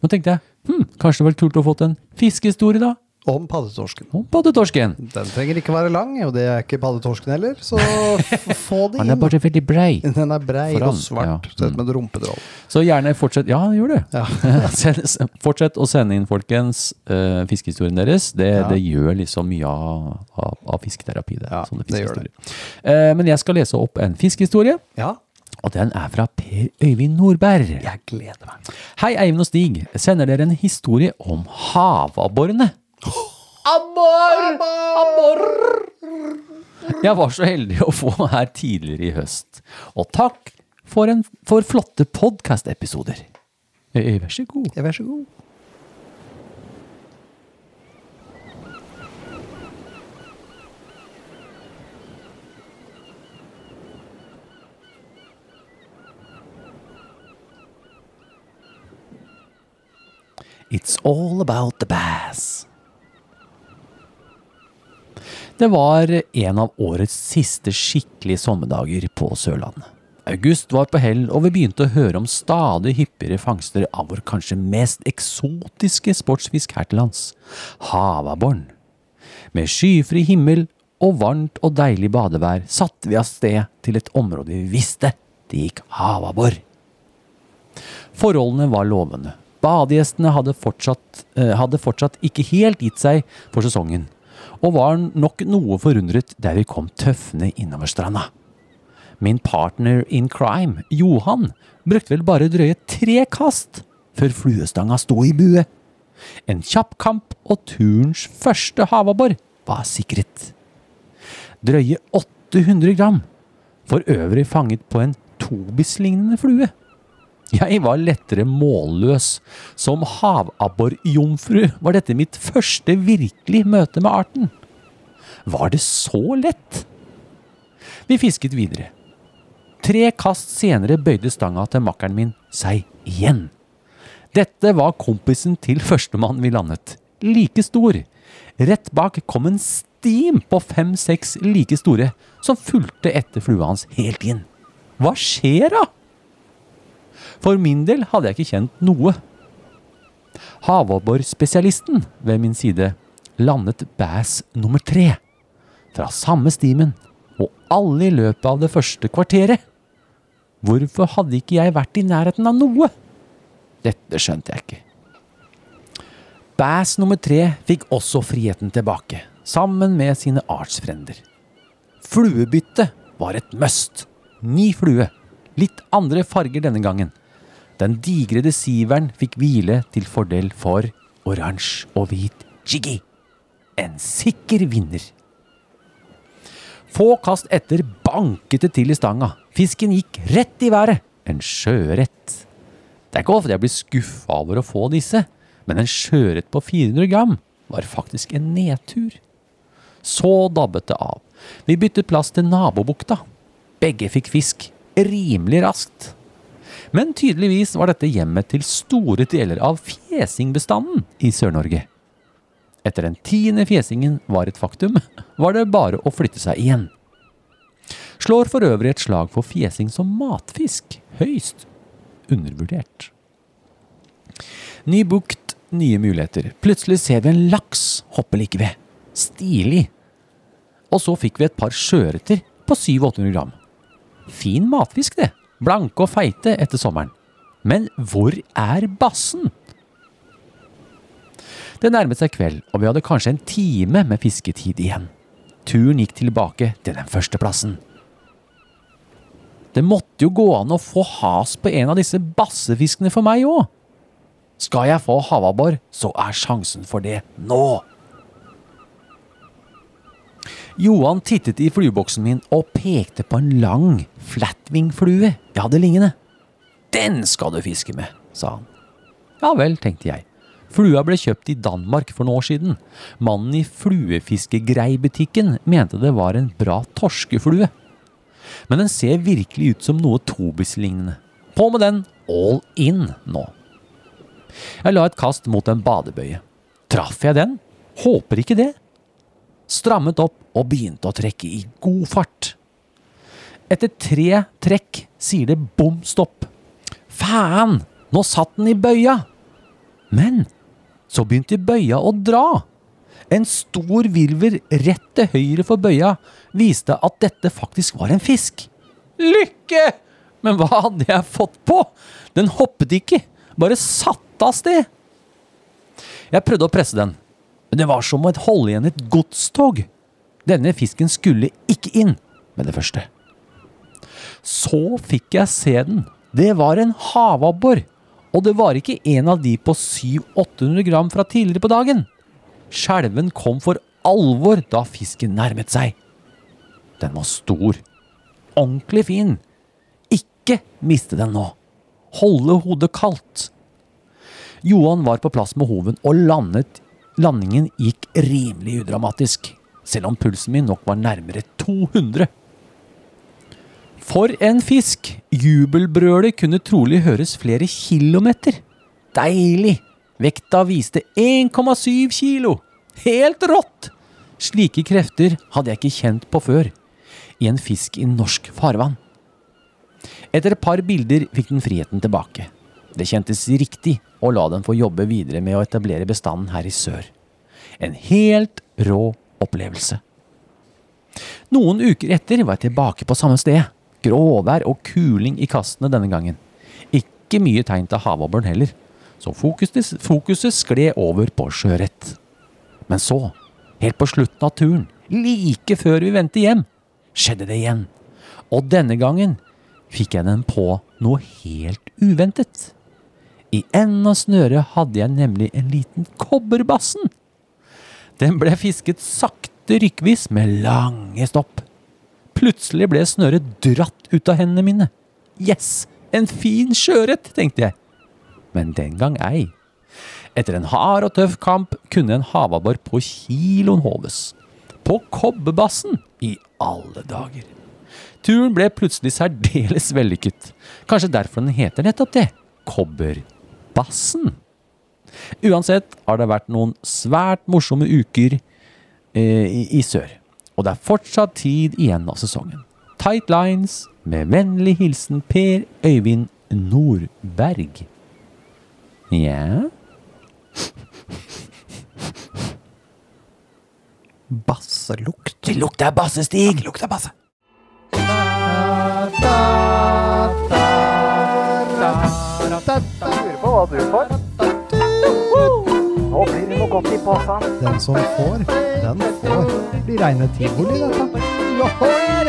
[SPEAKER 2] Nå tenkte jeg hm, kanskje det var kult å få en fiskehistorie, da.
[SPEAKER 6] om paddetorsken.
[SPEAKER 2] Om paddetorsken.
[SPEAKER 6] Den trenger ikke være lang, og det er ikke paddetorsken heller, så f- få det
[SPEAKER 2] Han er
[SPEAKER 6] inn.
[SPEAKER 2] bare veldig brei.
[SPEAKER 6] Den er brei
[SPEAKER 2] Foran,
[SPEAKER 6] og svart,
[SPEAKER 2] ja. Mm.
[SPEAKER 6] sett med et rumpetroll.
[SPEAKER 2] Så gjerne fortsett Ja, gjør det. Send- s- fortsett å sende inn, folkens, uh, fiskehistorien deres. Det, det gjør liksom mye av, av, av fisketerapi. Det,
[SPEAKER 6] Ja,
[SPEAKER 2] sånne
[SPEAKER 6] det gjør det.
[SPEAKER 2] fiskehistorier. Eh, men jeg skal lese opp en fiskehistorie.
[SPEAKER 6] Ja,
[SPEAKER 2] Og den er fra Per Øyvind Nordberg.
[SPEAKER 6] jeg gleder meg.
[SPEAKER 2] Hei, Eivind og Stig. Sender dere en historie om havabborene? Abbor! Abbor! Jeg var så heldig å få meg her tidligere i høst. Og takk for, en, for flotte podkast-episoder. Eh, eh, Vær så god.
[SPEAKER 6] Ja, Vær så god.
[SPEAKER 2] It's all about the bass. Det var en av årets siste skikkelige sommerdager på Sørlandet. August var på hell, og vi begynte å høre om stadig hyppigere fangster av vår kanskje mest eksotiske sportsfisk her til lands, havabboren. Med skyfri himmel og varmt og deilig badevær satte vi av sted til et område vi visste det gikk havabbor. Forholdene var lovende. Badegjestene hadde fortsatt, eh, hadde fortsatt ikke helt gitt seg for sesongen, og var nok noe forundret der vi kom tøffende innover stranda. Min partner in crime, Johan, brukte vel bare drøye tre kast før fluestanga sto i bue. En kjapp kamp og turens første havabbor var sikret. Drøye 800 gram, for øvrig fanget på en tobislignende flue. Jeg var lettere målløs. Som havabborjomfru var dette mitt første virkelig møte med arten. Var det så lett? Vi fisket videre. Tre kast senere bøyde stanga til makkeren min seg igjen. Dette var kompisen til førstemann vi landet. Like stor. Rett bak kom en stim på fem-seks like store, som fulgte etter flua hans helt inn. Hva skjer da? For min del hadde jeg ikke kjent noe. Havabborspesialisten ved min side landet bass nummer tre fra samme stimen, og alle i løpet av det første kvarteret. Hvorfor hadde ikke jeg vært i nærheten av noe? Dette skjønte jeg ikke. Bass nummer tre fikk også friheten tilbake, sammen med sine artsfrender. Fluebytte var et must. Ny flue. Litt andre farger denne gangen. Den digre desiveren fikk hvile til fordel for oransje og hvit jiggy. En sikker vinner. Få kast etter banket det til i stanga. Fisken gikk rett i været. En sjøørret. Det er ikke ofte jeg blir skuffa over å få disse, men en sjøørret på 400 gram var faktisk en nedtur. Så dabbet det av. Vi byttet plass til nabobukta. Begge fikk fisk rimelig raskt. Men tydeligvis var dette hjemmet til store deler av fjesingbestanden i Sør-Norge. Etter den tiende fjesingen var et faktum, var det bare å flytte seg igjen. Slår for øvrig et slag for fjesing som matfisk. Høyst undervurdert. Ny bukt, nye muligheter. Plutselig ser vi en laks hoppe like ved. Stilig. Og så fikk vi et par sjøørreter på 700-800 gram. Fin matfisk, det. Blanke og feite etter sommeren. Men hvor er bassen? Det nærmet seg kveld, og vi hadde kanskje en time med fisketid igjen. Turen gikk tilbake til den førsteplassen. Det måtte jo gå an å få has på en av disse bassefiskene for meg òg. Skal jeg få havabbor, så er sjansen for det nå. Johan tittet i flueboksen min og pekte på en lang flatwing-flue jeg hadde liggende. Den skal du fiske med, sa han. Ja vel, tenkte jeg. Flua ble kjøpt i Danmark for noen år siden. Mannen i fluefiskegreibutikken mente det var en bra torskeflue. Men den ser virkelig ut som noe tobislignende. På med den all in nå. Jeg la et kast mot en badebøye. Traff jeg den? Håper ikke det strammet opp og begynte å trekke i god fart. Etter tre trekk sier det bom stopp. Faen, nå satt den i bøya! Men så begynte bøya å dra. En stor virver rett til høyre for bøya viste at dette faktisk var en fisk. Lykke! Men hva hadde jeg fått på? Den hoppet ikke, bare satt av sted. Jeg prøvde å presse den, men det var som å holde igjen et godstog. Denne fisken skulle ikke inn med det første. Så fikk jeg se den. Det var en havabbor. Og det var ikke en av de på 700-800 gram fra tidligere på dagen. Skjelven kom for alvor da fisken nærmet seg. Den var stor. Ordentlig fin. Ikke miste den nå. Holde hodet kaldt. Johan var på plass med hoven, og landet, landingen gikk rimelig udramatisk. Selv om pulsen min nok var nærmere 200. For en fisk! Jubelbrølet kunne trolig høres flere kilometer. Deilig! Vekta viste 1,7 kilo! Helt rått! Slike krefter hadde jeg ikke kjent på før i en fisk i norsk farvann. Etter et par bilder fikk den friheten tilbake. Det kjentes riktig å la den få jobbe videre med å etablere bestanden her i sør. En helt rå opplevelse. Noen uker etter var jeg tilbake på samme sted. Gråvær og kuling i kastene denne gangen. Ikke mye tegn til havabboren heller, så fokuset, fokuset skled over på sjøørret. Men så, helt på slutten av turen, like før vi vendte hjem, skjedde det igjen. Og denne gangen fikk jeg den på noe helt uventet. I enden av snøret hadde jeg nemlig en liten kobberbassen. Den ble fisket sakte rykkvis med lange stopp. Plutselig ble snøret dratt ut av hendene mine. Yes, en fin sjøørret, tenkte jeg. Men den gang ei. Etter en hard og tøff kamp kunne en havabbor på kiloen håves. På kobberbassen! I alle dager. Turen ble plutselig særdeles vellykket. Kanskje derfor den heter nettopp det. Kobberbassen. Uansett har det vært noen svært morsomme uker eh, i, i sør. Og det er fortsatt tid igjen av sesongen. Tight Lines med vennlig hilsen Per Øyvind Nordberg. Ja
[SPEAKER 6] Basselukt.
[SPEAKER 2] Det lukter basse, Stig! Det lukter basse.
[SPEAKER 5] Lurer på hva du får. Nå blir det noe godt i posen.
[SPEAKER 6] Den som får, den får. Det blir reine tivoli, dette.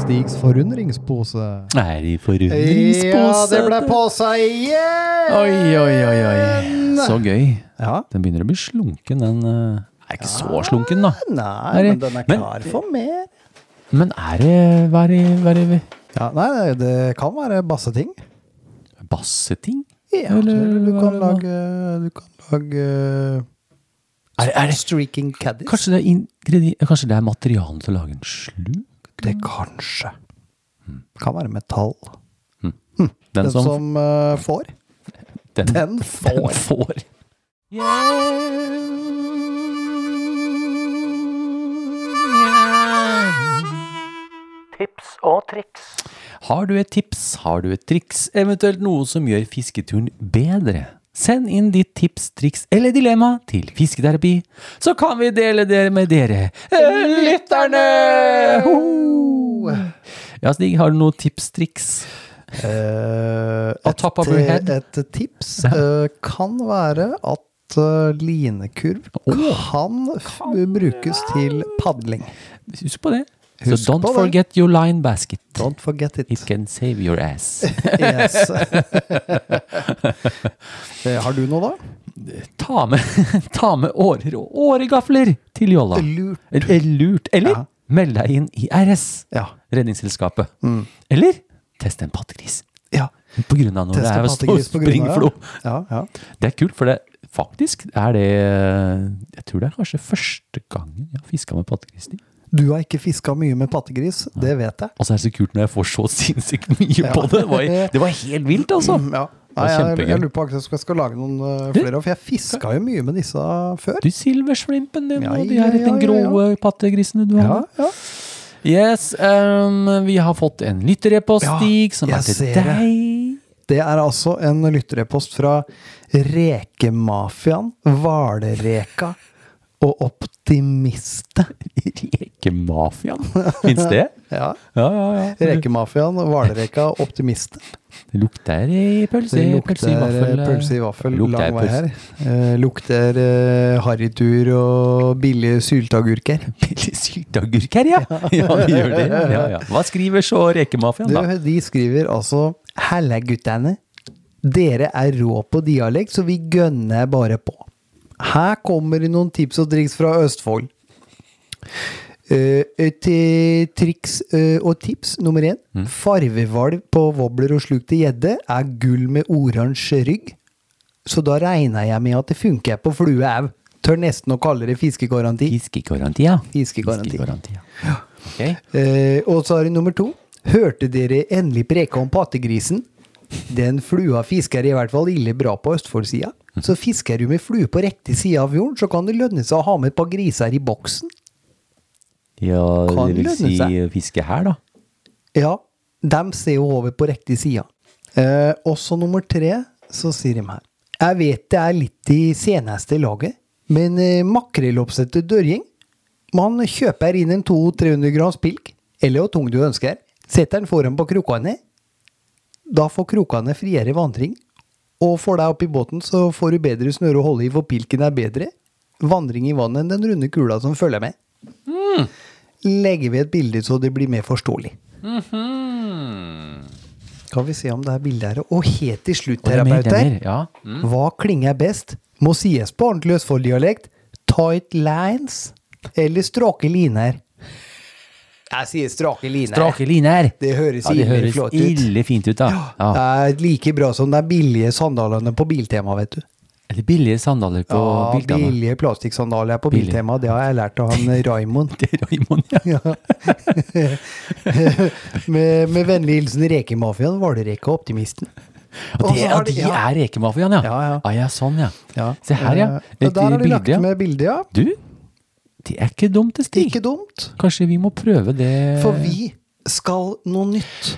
[SPEAKER 6] Stigs forundringspose.
[SPEAKER 2] Er i forundringspose.
[SPEAKER 6] Ja, det ble påsa igjen!
[SPEAKER 2] Oi, oi, oi, oi. Så gøy.
[SPEAKER 6] Ja.
[SPEAKER 2] Den begynner å bli slunken, den. eh, Er ikke så slunken, da.
[SPEAKER 6] Nei, men den er
[SPEAKER 2] Men-
[SPEAKER 6] klar for mer.
[SPEAKER 2] Men er det Hva er det, hva er det
[SPEAKER 6] Ja, nei, nei, det kan være basseting.
[SPEAKER 2] Basseting?
[SPEAKER 6] Ja,
[SPEAKER 2] Eller
[SPEAKER 6] du
[SPEAKER 2] hva er
[SPEAKER 6] kan
[SPEAKER 2] det da?
[SPEAKER 6] lage, du kan lage
[SPEAKER 2] Er, er det
[SPEAKER 6] Streaking caddies.
[SPEAKER 2] Kanskje det er ingredi... Kanskje det er materialet til å lage en sluk?
[SPEAKER 6] Det kanskje. Kan være metall.
[SPEAKER 2] Den,
[SPEAKER 6] Hmm. Den som, eh, får,
[SPEAKER 2] den,
[SPEAKER 6] den
[SPEAKER 2] den
[SPEAKER 6] får.
[SPEAKER 2] får.
[SPEAKER 3] Tips og triks.
[SPEAKER 2] Har du et tips, har du et triks, eventuelt noe som gjør fisketuren bedre? Send inn ditt tips, triks eller dilemma til Fisketerapi, så kan vi dele det med dere eh, lytterne! Ho! Ja, Stig, har du noe tips, triks?
[SPEAKER 6] Eh,
[SPEAKER 2] On top of your head.
[SPEAKER 6] Et tips eh, kan være at eh, linekurv kan, f brukes til padling.
[SPEAKER 2] Husk på det.
[SPEAKER 6] Husk
[SPEAKER 2] so don't
[SPEAKER 6] på det.
[SPEAKER 2] forget your line basket.
[SPEAKER 6] Don't forget it.
[SPEAKER 2] It can save your ass.
[SPEAKER 6] Yes. Eh, Har du noe, da?
[SPEAKER 2] ta, med, ta med årer og åregafler til jolla.
[SPEAKER 6] Lurt.
[SPEAKER 2] Eh, Lurt. Eller
[SPEAKER 6] Ja.
[SPEAKER 2] meld deg inn i RS.
[SPEAKER 6] Ja. Mm.
[SPEAKER 2] Redningsselskapet. Eller teste en pattegris.
[SPEAKER 6] ja.
[SPEAKER 2] På grunn av når det
[SPEAKER 6] Teste
[SPEAKER 2] er stor
[SPEAKER 6] pattegris på grunn av
[SPEAKER 2] springflo.
[SPEAKER 6] det. Ja, ja.
[SPEAKER 2] Det er kult, for det faktisk er det Jeg tror det er kanskje første gangen jeg har fiska med pattegris. Stig.
[SPEAKER 6] Du har ikke fiska mye med pattegris, det vet jeg.
[SPEAKER 2] Og så er det så kult når jeg får så sinnssykt mye på det. Det var, det var helt vilt, altså.
[SPEAKER 6] Mm, Ja. Nei,
[SPEAKER 2] var
[SPEAKER 6] jeg,
[SPEAKER 2] kjempegøy.
[SPEAKER 6] jeg lurer på om jeg skal- skal lage noen eh, flere, for jeg fiska jo mye med disse før.
[SPEAKER 2] Du silverslimpen din
[SPEAKER 6] Ja,
[SPEAKER 2] og de
[SPEAKER 6] ja,
[SPEAKER 2] her
[SPEAKER 6] ja,
[SPEAKER 2] den
[SPEAKER 6] ja,
[SPEAKER 2] grå
[SPEAKER 6] ja.
[SPEAKER 2] pattegrisene du
[SPEAKER 6] Ja,
[SPEAKER 2] har.
[SPEAKER 6] ja.
[SPEAKER 2] Yes, ehm, vi har fått en lytterrepost,
[SPEAKER 6] Ja,
[SPEAKER 2] Stig, som
[SPEAKER 6] jeg
[SPEAKER 2] er til
[SPEAKER 6] ser det.
[SPEAKER 2] deg.
[SPEAKER 6] Det er altså en lytterepost fra Rekemafiaen, Hvalereka og Optimiste.
[SPEAKER 2] Rekemafiaen? Fins det?
[SPEAKER 6] Ja.
[SPEAKER 2] Ja, ja, ja.
[SPEAKER 6] Rekemafiaen, Hvalereka og Optimiste.
[SPEAKER 2] Det lukter i pølse,
[SPEAKER 6] Det
[SPEAKER 2] pølse i
[SPEAKER 6] lukter
[SPEAKER 2] vaffel.
[SPEAKER 6] eh, pølse i vaffel
[SPEAKER 2] Lukter
[SPEAKER 6] lang vei
[SPEAKER 2] pølse.
[SPEAKER 6] her. Eh, lukter eh, harrytur og billige sylteagurker.
[SPEAKER 2] Billig sylteagurk her, ja. Ja, det gjør det. Ja, ja. Hva skriver så rekemafiaen,
[SPEAKER 6] Du,
[SPEAKER 2] da?
[SPEAKER 6] de skriver altså Helle guttene, dere er rå på dialekt, så vi gønner bare på. Her kommer noen tips og triks fra Østfold. Eh, Et eh, triks eh, og tips nummer én. Farvevalg på wobbler og sluk til gjedde er gull med oransje rygg. Så da regner jeg med at det funker på flue au. Tør nesten å kalle det fiskegaranti.
[SPEAKER 2] Fiskegaranti, ja.
[SPEAKER 6] Fiskegaranti.
[SPEAKER 2] Fiskegaranti, ja.
[SPEAKER 6] Eh, og så har vi nummer to. Hørte dere endelig preke om pattegrisen? Den flua fisker i hvert fall ille bra på Østfoldsida. Så fisker du med flue på riktig side av fjorden, så kan det lønne seg å ha med et par griser i boksen.
[SPEAKER 2] Ja,
[SPEAKER 6] Kan
[SPEAKER 2] det vil
[SPEAKER 6] lønne
[SPEAKER 2] si
[SPEAKER 6] seg.
[SPEAKER 2] eh, fiske her, da.
[SPEAKER 6] Ja, dem ser jo over på riktig side. Eh, også nummer tre, så sier de her. Jeg vet det er litt i seneste laget, men eh, makrelloppsettet dørgjeng Man kjøper inn en 200-300 grams pilk, eller hvor tung du ønsker, setter den foran på krokene. Da får krokene friere vandring, og får deg opp i båten, så får du bedre snøre å holde i, for pilken er bedre. Vandring i vannet enn den runde kula som følger med.
[SPEAKER 2] Mm.
[SPEAKER 6] Legger vi et bilde så det blir mer forståelig.
[SPEAKER 2] Mm-hmm.
[SPEAKER 6] Skal vi se om det her bildet her Og helt til slutt,
[SPEAKER 2] det er mer,
[SPEAKER 6] terapeuter.
[SPEAKER 2] det er mer, Mm. ja.
[SPEAKER 6] Hva klinger best? Må sies på ordentlig Østfold-dialekt. Tight lines eller strake liner? Jeg sier strake liner.
[SPEAKER 2] Strake liner.
[SPEAKER 6] Det høres
[SPEAKER 2] ja, det
[SPEAKER 6] ille
[SPEAKER 2] høres
[SPEAKER 6] flott ut.
[SPEAKER 2] ille fint ut, da. Ja.
[SPEAKER 6] Det er like bra som de billige sandalene på Biltema, vet du.
[SPEAKER 2] Er det billige sandaler på
[SPEAKER 6] Ja,
[SPEAKER 2] bildene?
[SPEAKER 6] billige plastikksandaler på
[SPEAKER 2] Billig.
[SPEAKER 6] Biltema, det har jeg lært av han Raimond.
[SPEAKER 2] Det er Raymond, ja.
[SPEAKER 6] Ja. med, med vennlig hilsen Rekemafiaen, Hvalereka og Optimisten.
[SPEAKER 2] Og
[SPEAKER 6] Og
[SPEAKER 2] det,
[SPEAKER 6] så
[SPEAKER 2] ja,
[SPEAKER 6] har de-
[SPEAKER 2] de
[SPEAKER 6] ja.
[SPEAKER 2] er rekemafiaen, ja.
[SPEAKER 6] Ja, ja.
[SPEAKER 2] Ah, ja, sånn, ja.
[SPEAKER 6] Ja.
[SPEAKER 2] Se her, ja.
[SPEAKER 6] Eh,
[SPEAKER 2] Et
[SPEAKER 6] der har de lagt
[SPEAKER 2] bilde, ja.
[SPEAKER 6] med bilde, ja.
[SPEAKER 2] Du, det er ikke dumt, det, Stig.
[SPEAKER 6] Ikke dumt.
[SPEAKER 2] Kanskje vi må prøve det
[SPEAKER 6] For vi skal noe nytt.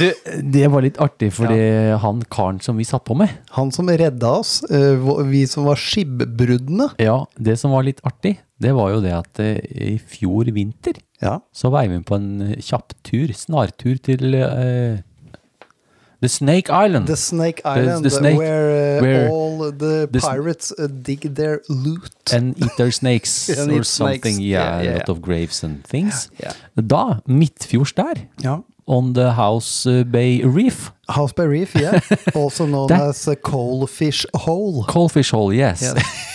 [SPEAKER 2] det, det var litt artig, for det han karen som vi satt på med
[SPEAKER 6] Han som redda oss, eh, vå- vi som var skibbruddene.
[SPEAKER 2] Ja, det som var litt artig, det var jo det at eh, i fjor vinter
[SPEAKER 6] Ja.
[SPEAKER 2] så var vi på en eh, kjapp tur, snartur til eh, The Snake Island.
[SPEAKER 6] The Snake Island,
[SPEAKER 2] the snake-
[SPEAKER 6] where, eh,
[SPEAKER 2] where
[SPEAKER 6] all the,
[SPEAKER 2] the sn-
[SPEAKER 6] pirates eh, dig their loot.
[SPEAKER 2] And eat their snakes
[SPEAKER 6] And
[SPEAKER 2] or
[SPEAKER 6] eat snakes.
[SPEAKER 2] something. Yeah,
[SPEAKER 6] Yeah, yeah,
[SPEAKER 2] a lot
[SPEAKER 6] yeah.
[SPEAKER 2] of graves and things.
[SPEAKER 6] Yeah.
[SPEAKER 2] Da, midtfjords der,
[SPEAKER 6] Ja.
[SPEAKER 2] on the House eh, Bay Reef,
[SPEAKER 6] House by Reef, yeah. Also known
[SPEAKER 2] Der-
[SPEAKER 6] as a coalfish hole.
[SPEAKER 2] Coalfish Hole, yes.
[SPEAKER 6] Yeah.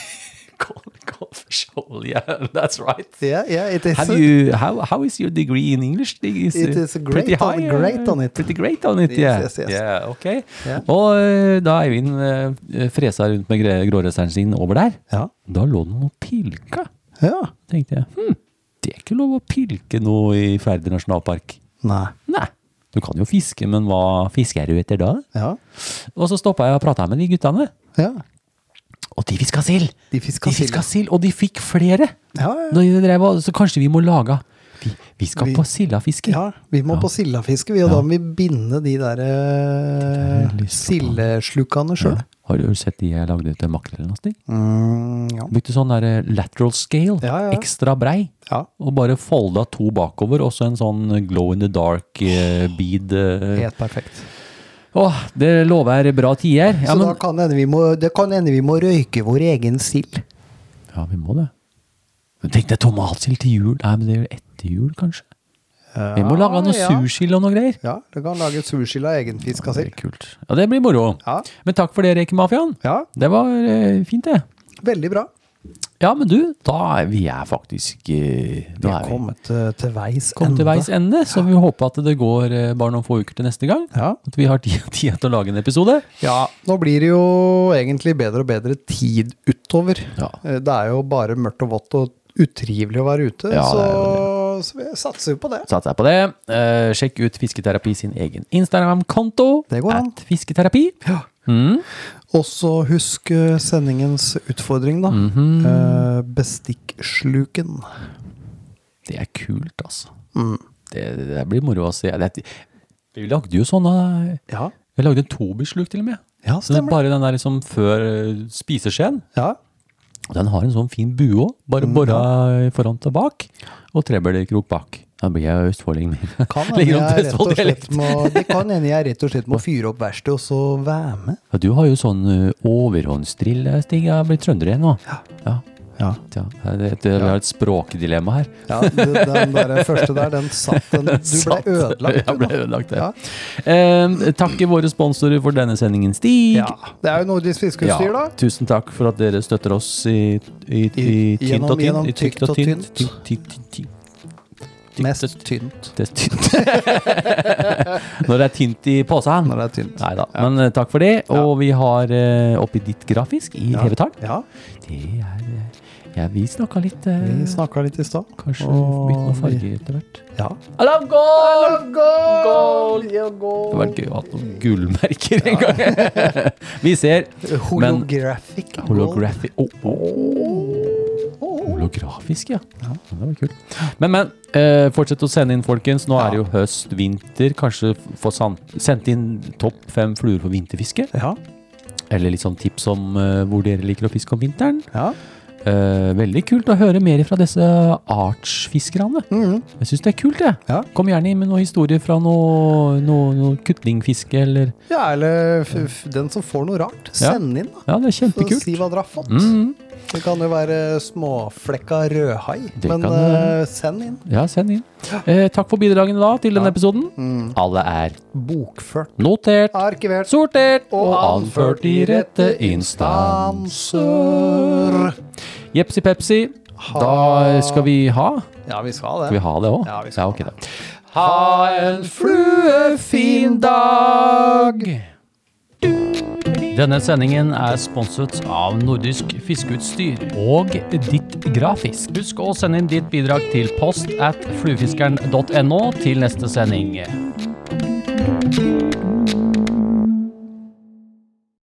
[SPEAKER 2] Coal- Coalfish Hole, yeah, that's right.
[SPEAKER 6] Yeah, yeah, it is.
[SPEAKER 2] Have
[SPEAKER 6] a-
[SPEAKER 2] you how how is your degree in English? Is
[SPEAKER 6] It
[SPEAKER 2] uh,
[SPEAKER 6] is great on-
[SPEAKER 2] uh,
[SPEAKER 6] great on it.
[SPEAKER 2] Pretty great on it,
[SPEAKER 6] Yes,
[SPEAKER 2] yeah.
[SPEAKER 6] yes, yes.
[SPEAKER 2] Yeah, ok.
[SPEAKER 6] Yeah.
[SPEAKER 2] Og eh, da Eivind eh, fresa rundt med gre- grårøsteren sin over der,
[SPEAKER 6] Ja.
[SPEAKER 2] da lå det noe pilka.
[SPEAKER 6] Ja.
[SPEAKER 2] Tenkte jeg, hm, det er ikke lov å pilke noe i Færder nasjonalpark.
[SPEAKER 6] Nei.
[SPEAKER 2] Nei, du kan jo fiske, men hva fisker du etter da?
[SPEAKER 6] Ja.
[SPEAKER 2] Og så stoppa jeg og prata med de guttene,
[SPEAKER 6] ja.
[SPEAKER 2] og de fiska sild!
[SPEAKER 6] De fiska sild, ja.
[SPEAKER 2] sild, og de fikk flere!
[SPEAKER 6] Ja, ja, ja.
[SPEAKER 2] Da de drev, og- så kanskje vi må lage Vi, vi skal
[SPEAKER 6] Vi-
[SPEAKER 2] på sildafiske.
[SPEAKER 6] Ja, vi må på sildafiske, vi, og da må vi binde de der eh,
[SPEAKER 2] lyst på.
[SPEAKER 6] sildeslukene sjøl.
[SPEAKER 2] Har du sett de jeg lagde til makrellen og sting?
[SPEAKER 6] Mm, ja.
[SPEAKER 2] Brukte sånn der eh, lateral scale,
[SPEAKER 6] Ja, ja, ja.
[SPEAKER 2] ekstra brei,
[SPEAKER 6] ja.
[SPEAKER 2] og bare folda to bakover, og så en sånn glow in the dark eh, bead. eh.
[SPEAKER 6] Helt perfekt.
[SPEAKER 2] Åh, det lover bra tider. Ja,
[SPEAKER 6] så
[SPEAKER 2] men,
[SPEAKER 6] da kan hende vi må, det kan hende vi må røyke vår egen sild.
[SPEAKER 2] ja, vi må det. Men Tenk deg tomatsild til jul. Nei, men det er jo etter jul, kanskje. vi må lage noe
[SPEAKER 6] ja.
[SPEAKER 2] sursild og noe greier.
[SPEAKER 6] Ja, du kan lage sushi av egen fisk av
[SPEAKER 2] Det blir
[SPEAKER 6] sild.
[SPEAKER 2] kult. Ja, det blir moro.
[SPEAKER 6] Ja.
[SPEAKER 2] Men takk for det, Rekemafiaen.
[SPEAKER 6] Ja.
[SPEAKER 2] Det var eh, fint, det.
[SPEAKER 6] Veldig bra.
[SPEAKER 2] Ja, men du, da er vi er faktisk eh,
[SPEAKER 6] Vi
[SPEAKER 2] da
[SPEAKER 6] har
[SPEAKER 2] er
[SPEAKER 6] kommet eh, til veis
[SPEAKER 2] kom til veis ende, så vi håper at det går eh, bare noen få uker til neste gang.
[SPEAKER 6] Ja.
[SPEAKER 2] At vi har tid, tid til å lage en episode.
[SPEAKER 6] ja, nå blir det jo egentlig bedre og bedre tid utover.
[SPEAKER 2] Ja.
[SPEAKER 6] Eh, Det er jo bare mørkt og vått og utrivelig å være ute,
[SPEAKER 2] Ja, det er
[SPEAKER 6] så, så vi satser jo på det.
[SPEAKER 2] Satser jeg på det. Eh, sjekk ut Fisketerapi sin egen Instagram-konto.
[SPEAKER 6] Det går an.
[SPEAKER 2] At Fisketerapi.
[SPEAKER 6] Ja.
[SPEAKER 2] Mm.
[SPEAKER 6] Også husk eh, sendingens utfordring, da.
[SPEAKER 2] Mhm.
[SPEAKER 6] Eh, bestikksluken.
[SPEAKER 2] Det er kult,
[SPEAKER 6] Mm.
[SPEAKER 2] altså. Det, det blir moro å se. Det, vi lagde jo sånne
[SPEAKER 6] Ja.
[SPEAKER 2] Vi lagde en tobisluk til og med.
[SPEAKER 6] Ja,
[SPEAKER 2] Så det er
[SPEAKER 6] stemmer det.
[SPEAKER 2] bare den der liksom før eh, spiseskjeen.
[SPEAKER 6] Ja.
[SPEAKER 2] Den har en sånn fin bue òg.
[SPEAKER 6] Mm,
[SPEAKER 2] Bare bora foran til bak, og trebølgekrok bak. Da blir jeg østfolding min.
[SPEAKER 6] Kan hende
[SPEAKER 2] Ligger om
[SPEAKER 6] jeg rett og slett
[SPEAKER 2] Østfold-dialekt.
[SPEAKER 6] må, det kan hende jeg rett og slett må fyre opp verkstedet og så være med.
[SPEAKER 2] Ja, du har jo sånn eh, overhåndsdrill, eh, Stig. Jeg blir trønder igjen nå. Ja.
[SPEAKER 6] Ja.
[SPEAKER 2] Tja, det, det, det er et språkdilemma her.
[SPEAKER 6] Ja, du, den der første der, den satt den. Du ble
[SPEAKER 2] Satt.
[SPEAKER 6] ødelagt.
[SPEAKER 2] Jeg ble ødelagt, ja.
[SPEAKER 6] Ja.
[SPEAKER 2] Eh, takk til våre sponsorer for denne sendingen, Stig.
[SPEAKER 6] Ja. Det er jo nordisk fiskeutstyr, da.
[SPEAKER 2] Tusen takk for at dere støtter oss i, i, i,
[SPEAKER 6] I-
[SPEAKER 2] tynt
[SPEAKER 6] gjennom-
[SPEAKER 2] og tynt.
[SPEAKER 6] gjennom
[SPEAKER 2] i tykt og tynt. Tykt, tykt, tykt, tykt. Tykt og
[SPEAKER 6] Mest
[SPEAKER 2] tynt.
[SPEAKER 6] tynt
[SPEAKER 2] Det er tynt. Når det er tynt i posen.
[SPEAKER 6] når det er tynt.
[SPEAKER 2] Nei da, men eh, takk for det. Og vi har eh, oppi ditt grafisk i
[SPEAKER 6] Ja.
[SPEAKER 2] TV-tall.
[SPEAKER 6] Ja,
[SPEAKER 2] Det er eh, Ja, vi snakka litt eh,
[SPEAKER 6] vi snakka litt i stad.
[SPEAKER 2] Kanskje
[SPEAKER 6] og
[SPEAKER 2] bytte noe
[SPEAKER 6] vi-
[SPEAKER 2] farge etter hvert.
[SPEAKER 6] Ja.
[SPEAKER 2] I love gold! Det hadde vært gøy å ha noen gullmerker en gang. vi ser. Men
[SPEAKER 6] Holographic. gold.
[SPEAKER 2] holographic oh, Holografisk, ja. Det var kult. Men, men. eh, fortsett å sende inn, folkens. Nå er det jo høst, vinter. Kanskje få san- sendt inn topp fem fluer for vinterfiske.
[SPEAKER 6] Ja.
[SPEAKER 2] Eller litt sånn tips om eh, hvor dere liker å fiske om vinteren.
[SPEAKER 6] ja.
[SPEAKER 2] Eh, veldig kult å høre mer fra disse artsfiskerne.
[SPEAKER 6] Mhm.
[SPEAKER 2] Jeg syns det er kult, jeg.
[SPEAKER 6] Ja.
[SPEAKER 2] Kom gjerne inn med noen historier fra noe, noe, noe kutlingfiske eller
[SPEAKER 6] ja, eller f f den som får noe rart,
[SPEAKER 2] Ja.
[SPEAKER 6] send inn, da.
[SPEAKER 2] Ja, det er
[SPEAKER 6] Så
[SPEAKER 2] kjempekult.
[SPEAKER 6] si hva dere har fått.
[SPEAKER 2] Mm.
[SPEAKER 6] Det kan jo være småflekka rødhai,
[SPEAKER 2] Det
[SPEAKER 6] men
[SPEAKER 2] kan det være.
[SPEAKER 6] eh, send inn.
[SPEAKER 2] Ja, send inn. Eh, takk for bidragene da til denne episoden.
[SPEAKER 6] Mm.
[SPEAKER 2] Alle er
[SPEAKER 6] Bokført.
[SPEAKER 2] notert,
[SPEAKER 6] Arkivert.
[SPEAKER 2] sortert
[SPEAKER 6] Og anført i rette instanser.
[SPEAKER 2] Jepsi pepsi. Da skal vi ha
[SPEAKER 6] Ja, vi skal
[SPEAKER 2] Skal vi
[SPEAKER 6] det.
[SPEAKER 2] ha det òg?
[SPEAKER 6] Ja, vi skal
[SPEAKER 2] ok, da. Ha en fluefin dag!
[SPEAKER 1] Denne sendingen er sponset av Nordisk Fiskeutstyr og Ditt Grafisk. Husk å sende inn ditt bidrag til post at fluefiskeren.no til neste sending.